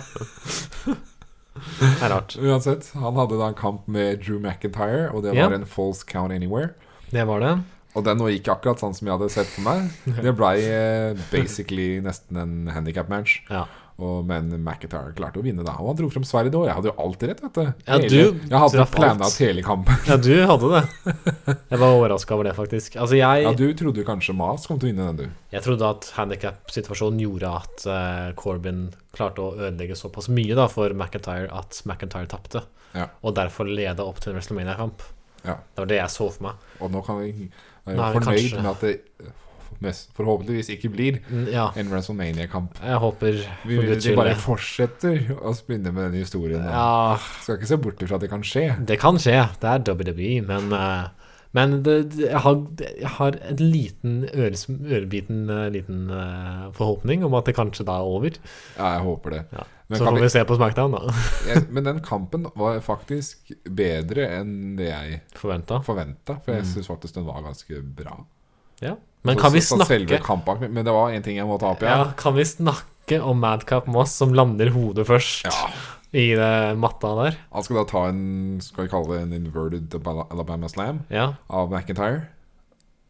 Speaker 2: Det er rart.
Speaker 1: Uansett, han hadde da en kamp med Drew McIntyre, og det
Speaker 2: Ja.
Speaker 1: var en false count anywhere.
Speaker 2: Det var det.
Speaker 1: Og den nå gikk akkurat sånn som jeg hadde sett for meg. Det ble eh, basically nesten en handicap-match.
Speaker 2: Ja.
Speaker 1: Og, men McIntyre klarte å vinne, da. Og han dro frem sverdet òg. Jeg hadde jo alltid rett, vet du.
Speaker 2: Ja,
Speaker 1: Hele-
Speaker 2: du
Speaker 1: jeg hadde
Speaker 2: traff alt.
Speaker 1: planlagt hele kampen.
Speaker 2: ja, du hadde det. Jeg var overraska over det, faktisk. Altså,
Speaker 1: Ja,
Speaker 2: jeg,
Speaker 1: du trodde jo kanskje Mas kom til å vinne den, du.
Speaker 2: jeg trodde at handikap-situasjonen gjorde at eh, Corbin klarte å ødelegge såpass mye da for McIntyre at McIntyre tapte,
Speaker 1: Ja.
Speaker 2: og derfor leda opp til en WrestleMania-kamp.
Speaker 1: Ja.
Speaker 2: Det var det jeg så for meg.
Speaker 1: Og nå kan vi være
Speaker 2: Nå er vi
Speaker 1: fornøyd
Speaker 2: kanskje-
Speaker 1: med at det eh, mest, forhåpentligvis ikke blir
Speaker 2: Mm, Ja,
Speaker 1: en WrestleMania-kamp.
Speaker 2: jeg håper
Speaker 1: Vi
Speaker 2: for
Speaker 1: vil
Speaker 2: Guds
Speaker 1: de
Speaker 2: skyld
Speaker 1: bare
Speaker 2: det.
Speaker 1: fortsetter å spinne med denne historien. da.
Speaker 2: Ja,
Speaker 1: Skal ikke se bort ifra at det kan skje.
Speaker 2: det kan skje. Det er WWE, men eh, men det, det, jeg, har, jeg har en liten, øres, ørebiten eh, liten eh, forhåpning om at det kanskje da er over.
Speaker 1: Ja, jeg håper det.
Speaker 2: Ja.
Speaker 1: Men
Speaker 2: så
Speaker 1: kan
Speaker 2: får
Speaker 1: vi-
Speaker 2: vi se på Smackdown, da. [laughs]
Speaker 1: [laughs] Jeg- Men den kampen var faktisk bedre enn det jeg
Speaker 2: Forventa.
Speaker 1: forventa. For jeg syns faktisk den var ganske bra.
Speaker 2: Ja. Mm. Men
Speaker 1: Så-
Speaker 2: kan vi
Speaker 1: så- så selve
Speaker 2: snakke
Speaker 1: kampen, Men det var én ting jeg må ta opp
Speaker 2: ja,
Speaker 1: igjen.
Speaker 2: kan vi snakke om Madcap Moss som lander hodet først
Speaker 1: Ja.
Speaker 2: i eh, matta der?
Speaker 1: Han skal da ta en Skal vi kalle det en inverted Abala- Alabama slam
Speaker 2: Ja.
Speaker 1: av McIntyre.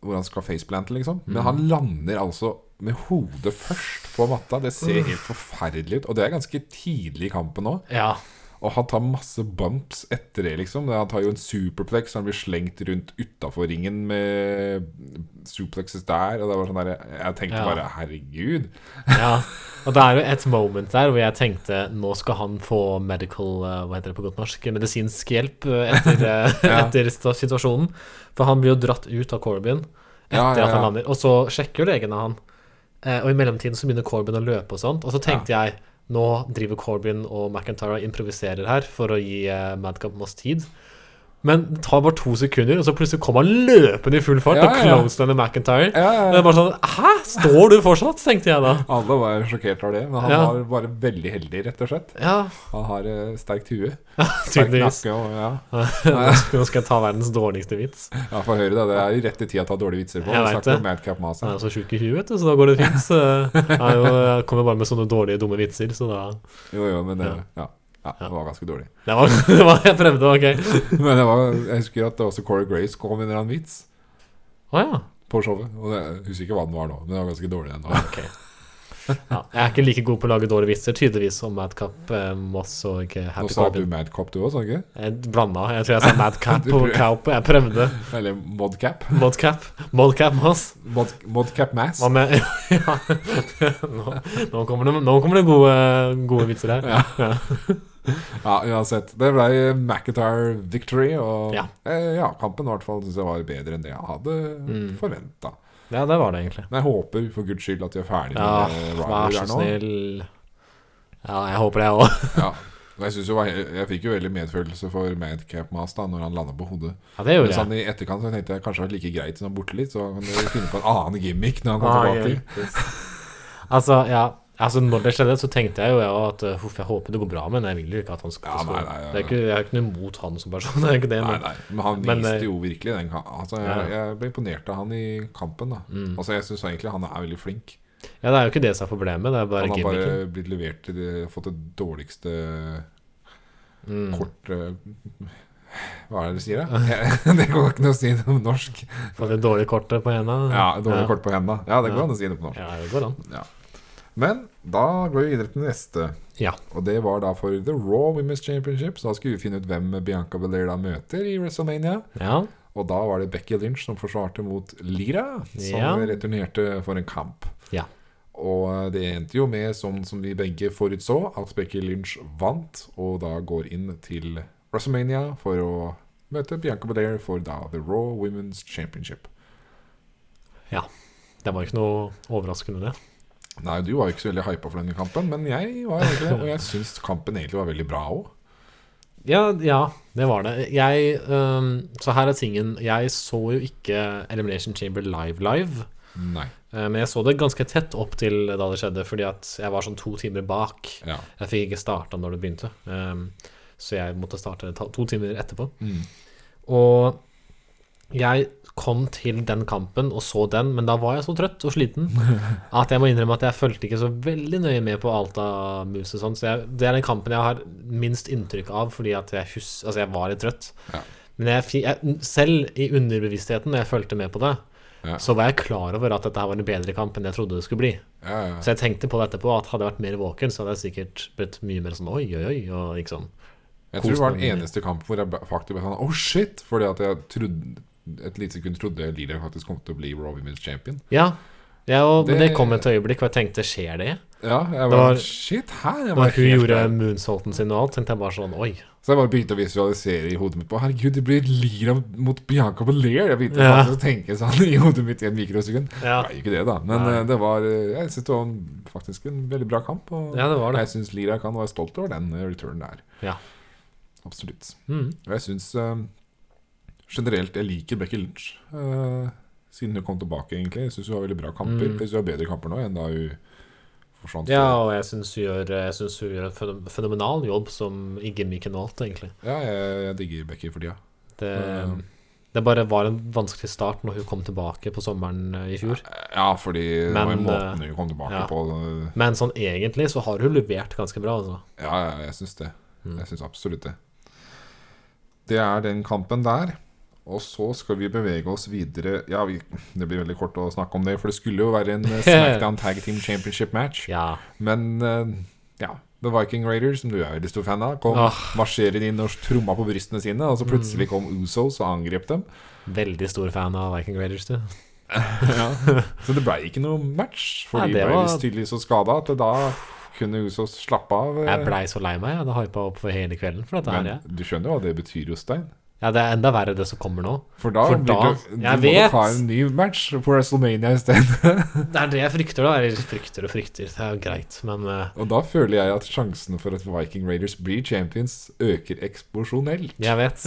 Speaker 1: Hvor han skal faceplante, liksom. Men
Speaker 2: Mm.
Speaker 1: han lander altså med hodet først på matta. Det ser
Speaker 2: Mm.
Speaker 1: helt forferdelig ut. Og det er ganske tidlig i kampen nå.
Speaker 2: ja.
Speaker 1: Og han tar masse bumps etter det, liksom. Han tar jo en superplex, han blir slengt rundt utafor ringen med suplexes der. Og det var sånn der, Jeg tenkte
Speaker 2: Ja.
Speaker 1: bare herregud.
Speaker 2: Ja, og det er jo et moment der hvor jeg tenkte nå skal han få medical eh, Hva heter det på godt norsk? Medisinsk hjelp eh,
Speaker 1: [laughs]
Speaker 2: etter, eh,
Speaker 1: Ja.
Speaker 2: etter sta- situasjonen. For han blir jo dratt ut av Corbyn
Speaker 1: Ja,
Speaker 2: etter
Speaker 1: ja,
Speaker 2: at han
Speaker 1: ja.
Speaker 2: lander. Og så sjekker jo legene han. Eh, Og i mellomtiden så begynner Corbyn å løpe og sånt. Og så tenkte jeg nå driver Corbyn og McIntyre og improviserer her for å gi eh, Madcap Moss tid. Men det tar bare to sekunder, og så plutselig kommer han løpende i full fart
Speaker 1: Ja,
Speaker 2: og
Speaker 1: ja.
Speaker 2: closener McIntyre.
Speaker 1: Ja, ja,
Speaker 2: Og jeg
Speaker 1: ja.
Speaker 2: bare sånn Hæ? Står du fortsatt? tenkte jeg da.
Speaker 1: Alle var sjokkert over det, men han
Speaker 2: Ja.
Speaker 1: var bare veldig heldig, rett og slett.
Speaker 2: Ja,
Speaker 1: Han har eh, sterkt hue. Sterk
Speaker 2: tydeligvis.
Speaker 1: nakke og ja.
Speaker 2: [laughs] Nå skal- nå skal jeg ta verdens dårligste vits.
Speaker 1: ja Få høre, da. Det er i rette tida å ta dårlige vitser på. Vi
Speaker 2: Jeg vet
Speaker 1: snakker
Speaker 2: det.
Speaker 1: om Madcap Mas
Speaker 2: Jeg
Speaker 1: her.
Speaker 2: er så sjuk i huet, vet du, så da går det fint. Så jeg, er jo, jeg kommer bare med sånne dårlige, dumme vitser, så da
Speaker 1: Jo, jo, men det,
Speaker 2: altså. Ja.
Speaker 1: ja. Ja, det var ganske dårlig. [laughs]
Speaker 2: Det var [laughs] det var jeg prøvde, OK.
Speaker 1: Men det var, jeg husker at det også Corey Grace kom med en eller annen vits.
Speaker 2: Å ja.
Speaker 1: på showet. Og det, jeg husker ikke hva den var nå, men den var ganske dårlig
Speaker 2: [laughs]
Speaker 1: den nå.
Speaker 2: ok. Ja, jeg er ikke like god på å lage dårlige vitser, tydeligvis, som Madcap eh, Moss og eh,
Speaker 1: Nå
Speaker 2: Happy
Speaker 1: sa du
Speaker 2: Corbin.
Speaker 1: Madcap du òg, sa du ikke?
Speaker 2: Jeg blanda. Jeg tror jeg sa
Speaker 1: [laughs]
Speaker 2: Madcap
Speaker 1: Du
Speaker 2: og
Speaker 1: prøv-
Speaker 2: Cowp. Jeg prøvde.
Speaker 1: Eller Modcap?
Speaker 2: Modcap. Modcap Moss.
Speaker 1: Mod, modcap Mass?
Speaker 2: Hva med [laughs] Ja. Nå, nå, kommer det, nå kommer det gode, gode vitser her.
Speaker 1: Ja. ja, uansett. Det ble McIntyre victory, og
Speaker 2: Ja.
Speaker 1: Eh, ja, kampen i hvert fall synes jeg var bedre enn det jeg hadde
Speaker 2: Mm.
Speaker 1: forventet forventa.
Speaker 2: Ja, det var det, egentlig.
Speaker 1: Men jeg håper for guds skyld at vi er ferdig
Speaker 2: Ja,
Speaker 1: med
Speaker 2: Vær
Speaker 1: Ryder
Speaker 2: så
Speaker 1: der nå.
Speaker 2: snill. Ja, jeg håper det òg.
Speaker 1: Ja. Og Jeg, synes jo, jeg, jeg fikk jo veldig medfølelse for Madcap Mas da Når han landa på hodet.
Speaker 2: Ja, det
Speaker 1: Men
Speaker 2: gjorde
Speaker 1: sånn
Speaker 2: jeg.
Speaker 1: i etterkant så tenkte jeg kanskje det var like greit som han er borte litt, så kan du finne på en annen gimmick når han
Speaker 2: Ah,
Speaker 1: kommer tilbake.
Speaker 2: [laughs] Altså, ja. Altså, når det skjedde, så tenkte jeg jo jeg også at uh, huff, jeg håper det går bra, men jeg vil jo ikke at han skal
Speaker 1: Ja,
Speaker 2: skal-
Speaker 1: nei, nei, ja,
Speaker 2: Det er ikke, Jeg er ikke noe imot han som person, [laughs] det er ikke det,
Speaker 1: Nei,
Speaker 2: men
Speaker 1: nei, men han
Speaker 2: Men, eh,
Speaker 1: viste jo virkelig den ka- altså, jeg,
Speaker 2: ja.
Speaker 1: jeg ble imponert av han i kampen. da
Speaker 2: Mm.
Speaker 1: Altså Jeg syns egentlig han er veldig flink.
Speaker 2: ja, det er jo ikke det som er problemet, det er bare
Speaker 1: Han har
Speaker 2: gimmicken.
Speaker 1: bare blitt levert til det, fått det dårligste
Speaker 2: Mm.
Speaker 1: kort eh, Hva er det du sier, da? [laughs] Jeg- det går ikke an å si det på norsk.
Speaker 2: Fått det dårlige kortet på henda.
Speaker 1: Ja, Dårlig kort på henda. Ja, det går
Speaker 2: Ja.
Speaker 1: an å si det på norsk.
Speaker 2: Ja, det går an.
Speaker 1: Men da går vi videre til neste.
Speaker 2: Ja.
Speaker 1: Og det var da for The Raw Women's Championship. Så da skulle vi finne ut hvem Bianca Belair da møter i WrestleMania.
Speaker 2: Ja.
Speaker 1: Og da var det Becky Lynch som forsvarte mot Lira, som
Speaker 2: Ja.
Speaker 1: returnerte for en kamp.
Speaker 2: Ja.
Speaker 1: Og det endte jo med, sånn som vi begge forutså, at Becky Lynch vant, og da går inn til WrestleMania for å møte Bianca Belair for da The Raw Women's Championship.
Speaker 2: Det var ikke noe overraskende, det.
Speaker 1: Nei, du var jo ikke så veldig hypa for denne kampen, men jeg var egentlig det. Og jeg syns kampen egentlig var veldig bra òg.
Speaker 2: Ja, ja det var det. Jeg øhm, Så her er tingen. Jeg så jo ikke Elimination Chamber live live.
Speaker 1: Nei.
Speaker 2: eh, Men jeg så det ganske tett opp til da det skjedde, fordi at jeg var sånn to timer bak.
Speaker 1: Ja.
Speaker 2: Jeg fikk ikke starta når det begynte, ehm, så jeg måtte starte ta- to timer etterpå.
Speaker 1: Mm.
Speaker 2: Og jeg kom til den kampen og så den, men da var jeg så trøtt og
Speaker 1: [laughs]
Speaker 2: sliten at jeg må innrømme at jeg fulgte ikke så veldig nøye med på alt av moves og sånn. Så jeg, det er den kampen jeg har minst inntrykk av, fordi at jeg, hus, altså jeg var litt trøtt.
Speaker 1: Ja.
Speaker 2: Men jeg, fi- jeg, selv i underbevisstheten, når jeg fulgte med på det,
Speaker 1: Ja.
Speaker 2: så var jeg klar over at dette her var en bedre kamp enn jeg trodde det skulle bli.
Speaker 1: Ja, ja.
Speaker 2: Så jeg tenkte på det etterpå, at hadde jeg vært mer våken, så hadde jeg sikkert blitt mye mer sånn oi, oi, oi, og ikke sånn.
Speaker 1: Jeg tror det var den
Speaker 2: Kosende.
Speaker 1: eneste kampen hvor jeg ba- faktisk ble sånn Oh shit! Fordi at jeg trodde et lite sekund trodde Lila faktisk kom til å bli Raw Women's Champion.
Speaker 2: Ja, ja og, men det
Speaker 1: Det-
Speaker 2: kom et øyeblikk hvor jeg tenkte skjer det?
Speaker 1: Ja, jeg var,
Speaker 2: Det
Speaker 1: sånn,
Speaker 2: var-
Speaker 1: Shit, her! Jeg
Speaker 2: Da
Speaker 1: var
Speaker 2: hun
Speaker 1: helt
Speaker 2: gjorde
Speaker 1: der.
Speaker 2: moonsaulten sin og alt, tenkte jeg bare sånn oi.
Speaker 1: Så jeg bare begynte å visualisere i hodet mitt på Herregud, det blir Lira mot Bianca Belair! Jeg begynte
Speaker 2: Ja.
Speaker 1: faktisk å tenke sånn [laughs] i hodet mitt i en mikrosekund. Det
Speaker 2: Ja,
Speaker 1: var jo ikke det, da. Men
Speaker 2: Nei.
Speaker 1: eh, det var eh, Jeg synes det var en- faktisk en veldig bra kamp. Og
Speaker 2: ja det var det.
Speaker 1: jeg syns Lira kan være stolt over den eh, returnen der.
Speaker 2: Ja.
Speaker 1: Absolutt.
Speaker 2: Mm.
Speaker 1: Og jeg syns eh, generelt jeg liker Becky Lynch. eh, siden hun kom tilbake, egentlig. Jeg syns hun har veldig bra kamper.
Speaker 2: Mm.
Speaker 1: Jeg synes hun har bedre kamper nå enn da hun forsvant.
Speaker 2: Ja, og jeg syns hun, gjør- jeg synes hun gjør en fenomen- fenomenal jobb som i gimmicken og alt, egentlig.
Speaker 1: Ja, jeg, jeg digger Becky for tida.
Speaker 2: Det,
Speaker 1: Mm.
Speaker 2: det bare var en vanskelig start når hun kom tilbake på sommeren eh, i fjor.
Speaker 1: Ja, fordi det var jo
Speaker 2: Men,
Speaker 1: måten hun
Speaker 2: eh,
Speaker 1: kom tilbake
Speaker 2: ja.
Speaker 1: på. eh,
Speaker 2: Men sånn egentlig så har hun levert ganske bra, altså.
Speaker 1: Ja, ja, jeg syns det.
Speaker 2: Mm.
Speaker 1: Jeg syns absolutt det. Det er den kampen der. Og så skal vi bevege oss videre Ja, vi, det blir veldig kort å snakke om det, for det skulle jo være
Speaker 2: [laughs]
Speaker 1: en eh, Smackdown Tag Team Championship-match.
Speaker 2: Ja.
Speaker 1: Men eh, ja, The Viking Raiders, som du er veldig stor fan av, kom
Speaker 2: Ah. Mm.
Speaker 1: marsjerer inn og tromma på brystene sine, og så plutselig kom Usos og angrep
Speaker 2: [laughs]
Speaker 1: dem.
Speaker 2: Veldig stor fan av Viking Raiders, du.
Speaker 1: Så det blei ikke noe match, for
Speaker 2: Nei,
Speaker 1: de
Speaker 2: det
Speaker 1: ble
Speaker 2: var-
Speaker 1: visst tydelig så skada at da kunne Usos slappe av. eh,
Speaker 2: Jeg blei så lei meg. Jeg hadde hypa opp for hele kvelden for dette
Speaker 1: men
Speaker 2: her. jeg.
Speaker 1: du skjønner jo hva det betyr, Jostein?
Speaker 2: Ja, det er enda verre det som kommer nå.
Speaker 1: For da,
Speaker 2: For
Speaker 1: blir
Speaker 2: da-
Speaker 1: det- du,
Speaker 2: jeg
Speaker 1: må
Speaker 2: vet.
Speaker 1: nok ha en ny match på WrestleMania isteden.
Speaker 2: Det er det jeg frykter, da. Eller frykter og frykter, det er jo greit, men eh,
Speaker 1: Og da føler jeg at sjansen for at Viking Raiders blir champions, øker eksplosjonelt.
Speaker 2: jeg vet.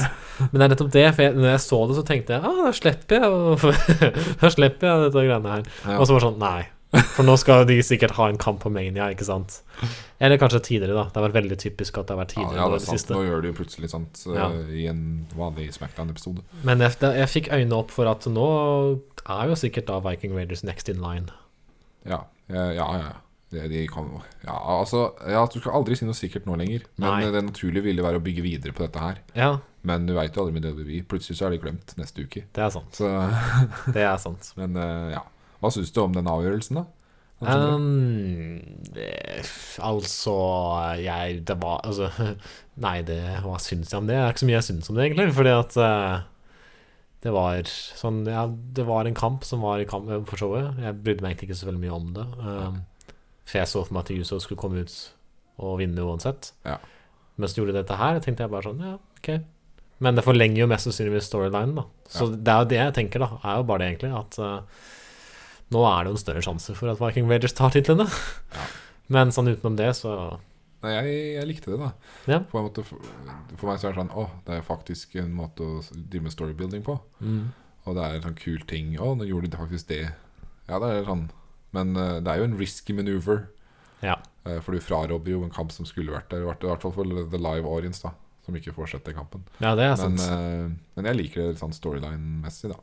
Speaker 2: Men det er nettopp det. For jeg, når jeg så det, så tenkte jeg ah, da slipper jeg å [laughs] Da slipper jeg dette greiene her.
Speaker 1: Ja.
Speaker 2: Og så bare sånn Nei. For nå skal de sikkert ha en kamp på Mania, ikke sant? Eller kanskje tidligere, da. Det har vært veldig typisk at det har vært
Speaker 1: Ja,
Speaker 2: tidligere.
Speaker 1: ja,
Speaker 2: nå i
Speaker 1: det er
Speaker 2: det
Speaker 1: sant.
Speaker 2: siste.
Speaker 1: Nå gjør du jo plutselig sant eh,
Speaker 2: Ja.
Speaker 1: i en vanlig Smackdown-episode.
Speaker 2: Men jeg, da- jeg fikk øynene opp for at nå er jo sikkert da Viking Raiders next in line.
Speaker 1: Ja, ja, ja. ja. Det- De kan, ja, altså, ja, du skal aldri si noe sikkert nå lenger. Men
Speaker 2: Nei.
Speaker 1: eh, det naturlige ville være å bygge videre på dette her.
Speaker 2: Ja,
Speaker 1: Men du veit jo aldri med WWE. Plutselig så er de glemt neste uke.
Speaker 2: det er sant.
Speaker 1: Så, [laughs]
Speaker 2: Det er sant.
Speaker 1: men eh, ja. Hva syns du om den avgjørelsen, da? Sånn som-
Speaker 2: Um, eh, altså Jeg Det var Altså [laughs] Nei, det, hva syns jeg om det? Det er ikke så mye jeg syns om det, egentlig. Fordi at eh, det var sånn Ja, det var en kamp som var i kamp eh, for showet. Jeg brydde meg egentlig ikke så veldig mye om det. Um, for jeg så for meg at Yuso skulle komme ut og vinne uansett.
Speaker 1: Ja.
Speaker 2: Mens du gjorde dette her, tenkte jeg bare sånn Ja, ok. Men det forlenger jo mest sannsynligvis storylinen, da. Så det er jo det jeg tenker, da. Er jo bare det, egentlig. At eh, [laughs] nå er det jo en større sjanse for at Viking Raiders tar titlene.
Speaker 1: Ja.
Speaker 2: Men sånn utenom det, så
Speaker 1: Nei, jeg, jeg likte det, da.
Speaker 2: Ja.
Speaker 1: På en måte, for, for meg så er det sånn Å, det er faktisk en måte å s- drive med storybuilding på.
Speaker 2: Mm.
Speaker 1: Og det er en sånn kul ting. Å, nå gjorde de faktisk det. Ja, det er sånn. Men eh, det er jo en risky maneuver.
Speaker 2: Ja.
Speaker 1: Eh, for du frarobber jo en kamp som skulle vært der. I hvert- i hvert fall for the live audience, da. Som ikke får sett den kampen.
Speaker 2: ja, det er
Speaker 1: Men,
Speaker 2: sant.
Speaker 1: eh, men jeg liker det litt sånn storyline-messig, da.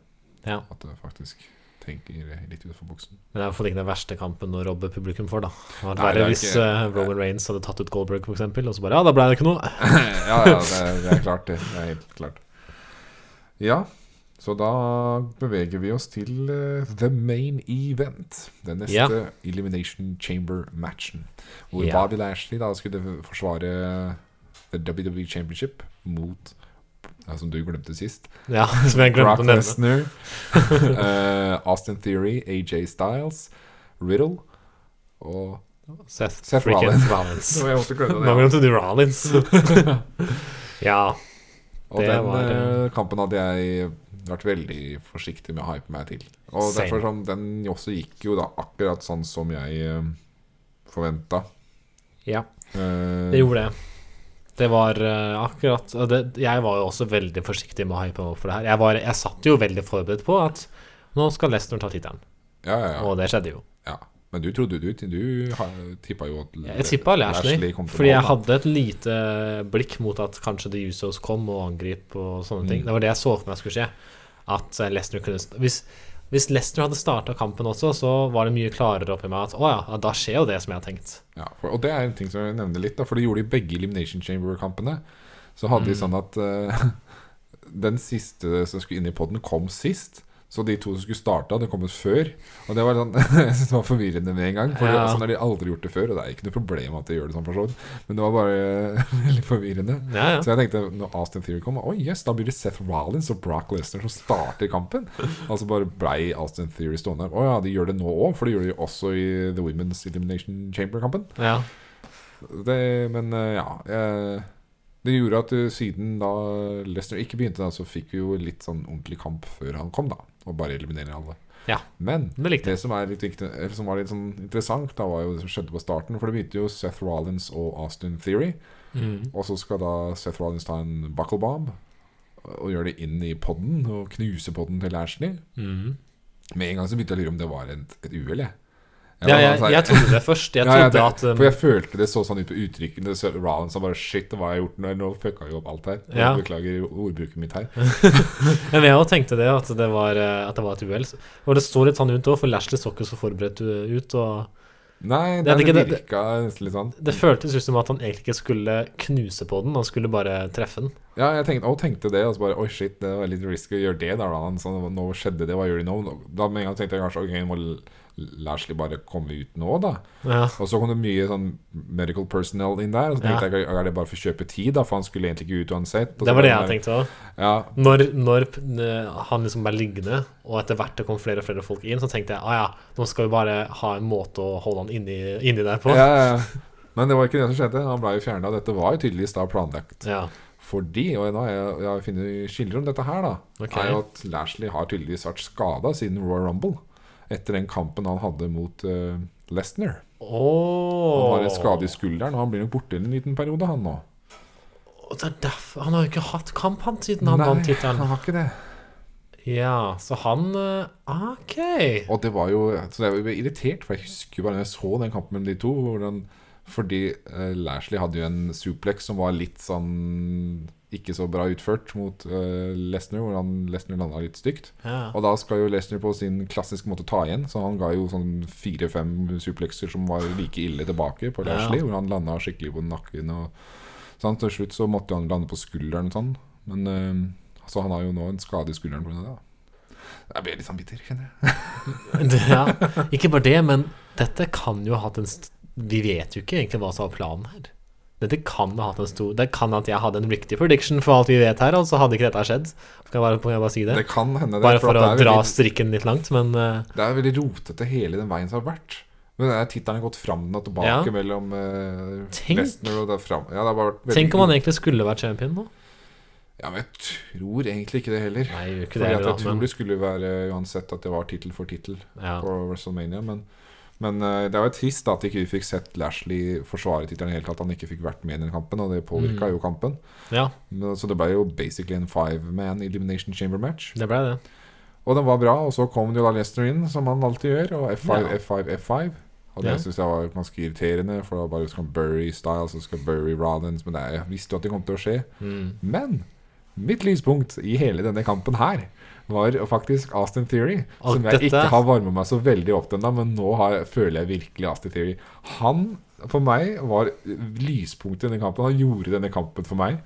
Speaker 2: Ja.
Speaker 1: At det faktisk tenker litt utenfor buksen.
Speaker 2: Men det er iallfall ikke den verste kampen å robbe publikum for, da. Det hadde
Speaker 1: Nei,
Speaker 2: vært
Speaker 1: det
Speaker 2: verre
Speaker 1: er
Speaker 2: hvis
Speaker 1: ikke-
Speaker 2: eh, Roman Reigns hadde tatt ut Goldberg, f.eks., og så bare Ja, da ble det ikke noe. [laughs]
Speaker 1: ja, ja, det, det er klart, det. Det er helt klart. Ja, så da beveger vi oss til eh, the main event. Den neste
Speaker 2: Ja.
Speaker 1: Elimination Chamber-matchen. Hvor
Speaker 2: Ja.
Speaker 1: Bobby Lashley da skulle forsvare eh, The WWE Championship mot ja, Som du glemte sist.
Speaker 2: Ja, som jeg
Speaker 1: Brock
Speaker 2: glemte å nevne. [laughs]
Speaker 1: Lesnar. eh, Austin Theory, AJ Styles, Riddle og
Speaker 2: Seth,
Speaker 1: Seth
Speaker 2: freaking
Speaker 1: Rollins.
Speaker 2: Rollins.
Speaker 1: [laughs] jeg måtte glemme
Speaker 2: Nå glemte du Rollins.
Speaker 1: [laughs]
Speaker 2: ja.
Speaker 1: Og
Speaker 2: Det
Speaker 1: den
Speaker 2: var, eh,
Speaker 1: eh, kampen hadde jeg vært veldig forsiktig med å hype meg til. Og
Speaker 2: Same.
Speaker 1: derfor sånn, den også gikk jo da akkurat sånn som jeg eh, forventa.
Speaker 2: ja.
Speaker 1: Eh,
Speaker 2: Det gjorde det. Det var eh, akkurat og det, Jeg var jo også veldig forsiktig med å hype meg opp for det her. Jeg, var, jeg satt jo veldig forberedt på at nå skal Lesnar ta tittelen,
Speaker 1: Ja, ja, ja.
Speaker 2: og det skjedde jo.
Speaker 1: ja. Men du trodde du Du ha- tippa jo at
Speaker 2: Jeg tippa Lashley,
Speaker 1: kom til
Speaker 2: fordi jeg
Speaker 1: mål, da.
Speaker 2: hadde et lite blikk mot at kanskje The Usos kom og angrep og sånne ting.
Speaker 1: Mm.
Speaker 2: Det var det jeg så for meg skulle skje. At eh, Lesnar kunne st- Hvis, hvis Lesnar hadde starta kampen også, så var det mye klarere oppi meg at å ja, ja, da skjer jo det som jeg har tenkt.
Speaker 1: Ja, for, og det er en ting som jeg nevner litt, da, for det gjorde de begge Elimination Chamber-kampene. Så hadde
Speaker 2: Mm.
Speaker 1: de sånn at eh, [laughs] den siste som skulle inn i poden, kom sist. Så de to som skulle starte, hadde kommet før. Og det var sånn, [laughs] jeg synes det var forvirrende med en gang. For
Speaker 2: Ja.
Speaker 1: sånn har de aldri gjort det før, og det er ikke noe problem at de gjør det sånn. for så vidt. Men det var bare [laughs] veldig forvirrende.
Speaker 2: Ja, ja.
Speaker 1: Så jeg tenkte når Austin Theory kom, oi yes, da blir det Seth Rollins og Brock Lesnar som starter kampen. Og så bare blei Austin Theory stående der. Å ja, de gjør det nå òg, for det gjorde de også i The Women's Elimination Chamber-kampen.
Speaker 2: ja.
Speaker 1: Det, men eh, ja eh, Det gjorde at eh, siden da Leicester ikke begynte, da, så fikk vi jo litt sånn ordentlig kamp før han kom, da. Og bare eliminere alle.
Speaker 2: Ja.
Speaker 1: Men
Speaker 2: Det likte jeg.
Speaker 1: det som, er litt viktig, eller som var litt sånn interessant, da var jo det som skjedde på starten. For det begynte jo Seth Rollins og Austin Theory.
Speaker 2: Mm.
Speaker 1: Og så skal da Seth Rollins ta en buckle bomb og gjøre det inn i podden og knuse podden til Ashley.
Speaker 2: Mm.
Speaker 1: Med en gang så begynte jeg å lure om det var et, et uhell, jeg. Jeg
Speaker 2: Ja,
Speaker 1: var
Speaker 2: jeg,
Speaker 1: sånn-
Speaker 2: jeg trodde det først. Jeg
Speaker 1: Ja, ja,
Speaker 2: trodde
Speaker 1: det-
Speaker 2: at um,
Speaker 1: For jeg følte det så sånn ut på uttrykkene. Så Rollins sa bare 'shit, hva har jeg gjort nå?' Nå fucka jeg opp alt her. Jeg
Speaker 2: Ja.
Speaker 1: Beklager ordbruket mitt her.
Speaker 2: Men jeg også tenkte det, at det var, eh, at det var et uhell. Og det så litt sånn ut òg, for Lashley så ikke så forberedt u- ut. Og
Speaker 1: Nei,
Speaker 2: Det
Speaker 1: det,
Speaker 2: er
Speaker 1: det,
Speaker 2: ikke det-
Speaker 1: virka nesten litt sånn.
Speaker 2: det føltes ut som at han egentlig ikke skulle knuse på den, han skulle bare treffe den.
Speaker 1: Ja, jeg tenkte, å, tenkte det, og så bare 'oi, shit, det var litt risky å gjøre det', da, Rollins. Sånn, nå skjedde det, hva gjør de nå? Da med en gang tenkte jeg kanskje ok, nå må L- Lashley bare komme ut nå, da.
Speaker 2: Ja,
Speaker 1: Og så kom det mye sånn medical personnel inn der. Og så
Speaker 2: Ja.
Speaker 1: tenkte jeg, er det bare for å kjøpe tid, da? For han skulle egentlig ikke ut uansett. og så
Speaker 2: det var det jeg
Speaker 1: bare-
Speaker 2: tenkte òg.
Speaker 1: Ja,
Speaker 2: Når, når eh, han liksom ble liggende, og etter hvert det kom flere og flere folk inn, så tenkte jeg ah, ja, nå skal vi bare ha en måte å holde han inni, inni der på.
Speaker 1: ja, ja, ja. Men det var ikke det som skjedde. Han ble jo fjerna. Dette var jo tydeligvis da planlagt.
Speaker 2: Ja.
Speaker 1: Fordi, og nå har jeg, jeg har funnet skiller om dette her, da,
Speaker 2: Ok.
Speaker 1: er jo at Lashley har tydeligvis vært skada siden Royal Rumble. Etter den kampen han hadde mot eh, Lesnar. Han
Speaker 2: Oh.
Speaker 1: har en skade i skulderen, og han blir nok borte en liten periode, han nå.
Speaker 2: Og det er derfor, han har jo ikke hatt kamp, han, siden han vant tittelen.
Speaker 1: han har ikke det.
Speaker 2: Ja, så han eh, OK.
Speaker 1: Og det var jo Så jeg ble irritert, for jeg husker jo bare når jeg så den kampen mellom de to. Hvordan, fordi eh, Lashley hadde jo en suplex som var litt sånn ikke så bra utført mot eh, Lesnar, hvor han- Lesnar landa litt stygt.
Speaker 2: Ja.
Speaker 1: Og da skal jo Lesnar på sin klassiske måte ta igjen, så han ga jo sånn fire-fem suplexer som var like ille tilbake på Lashley,
Speaker 2: Ja.
Speaker 1: hvor han landa skikkelig på nakken og sånn. Til slutt så måtte han lande på skulderen og sånn, men eh, så han har jo nå en skade i skulderen pga. det. da. Jeg ble litt sånn bitter, kjenner jeg.
Speaker 2: Det- ja. Ikke bare det, men dette kan jo ha hatt en st Vi vet jo ikke egentlig hva som var planen her. Dette kan ha hatt en stor Det kan at jeg hadde en riktig prediction for alt vi vet her, og så hadde ikke dette skjedd. Kan jeg bare, kan jeg bare si det?
Speaker 1: Det kan hende det.
Speaker 2: Bare for
Speaker 1: at
Speaker 2: å
Speaker 1: det er
Speaker 2: dra
Speaker 1: veldig,
Speaker 2: strikken litt langt, men eh,
Speaker 1: Det er veldig rotete hele den veien som har vært. Men det er tittelen gått fram og tilbake
Speaker 2: Ja.
Speaker 1: mellom eh,
Speaker 2: Tenk.
Speaker 1: Lesnar og det er fram. Ja, det har bare vært veldig
Speaker 2: tenk om han egentlig skulle vært champion nå?
Speaker 1: Ja, men jeg tror egentlig ikke det heller.
Speaker 2: Nei, gjør ikke
Speaker 1: Fordi
Speaker 2: det
Speaker 1: at jeg
Speaker 2: heller, da,
Speaker 1: tror
Speaker 2: men
Speaker 1: det skulle være uansett at det var tittel for tittel
Speaker 2: ja.
Speaker 1: på WrestleMania, men Men eh, det var jo trist da at ikke vi fikk sett Lashley forsvare tittelen i det hele tatt. Han ikke fikk vært med i den kampen, og det påvirka
Speaker 2: Mm.
Speaker 1: jo kampen.
Speaker 2: Ja,
Speaker 1: Men, så det ble jo basically en five man elimination chamber match.
Speaker 2: det ble det.
Speaker 1: Og den var bra, og så kom jo da Lester inn, som han alltid gjør, og F5,
Speaker 2: Ja.
Speaker 1: F5, F5. Og det
Speaker 2: Ja.
Speaker 1: synes jeg var ganske irriterende, for da bare skal Burry Styles og skal Burry Rollins, men det er, jeg visste jo at det kom til å skje.
Speaker 2: Mm.
Speaker 1: Men mitt lyspunkt i hele denne kampen her var faktisk Austin Theory.
Speaker 2: Og
Speaker 1: som jeg
Speaker 2: dette-
Speaker 1: ikke har varma meg så veldig opp til ennå, men nå har, føler jeg virkelig Austin Theory. Han, for meg, var lyspunktet i denne kampen. Han gjorde denne kampen for meg.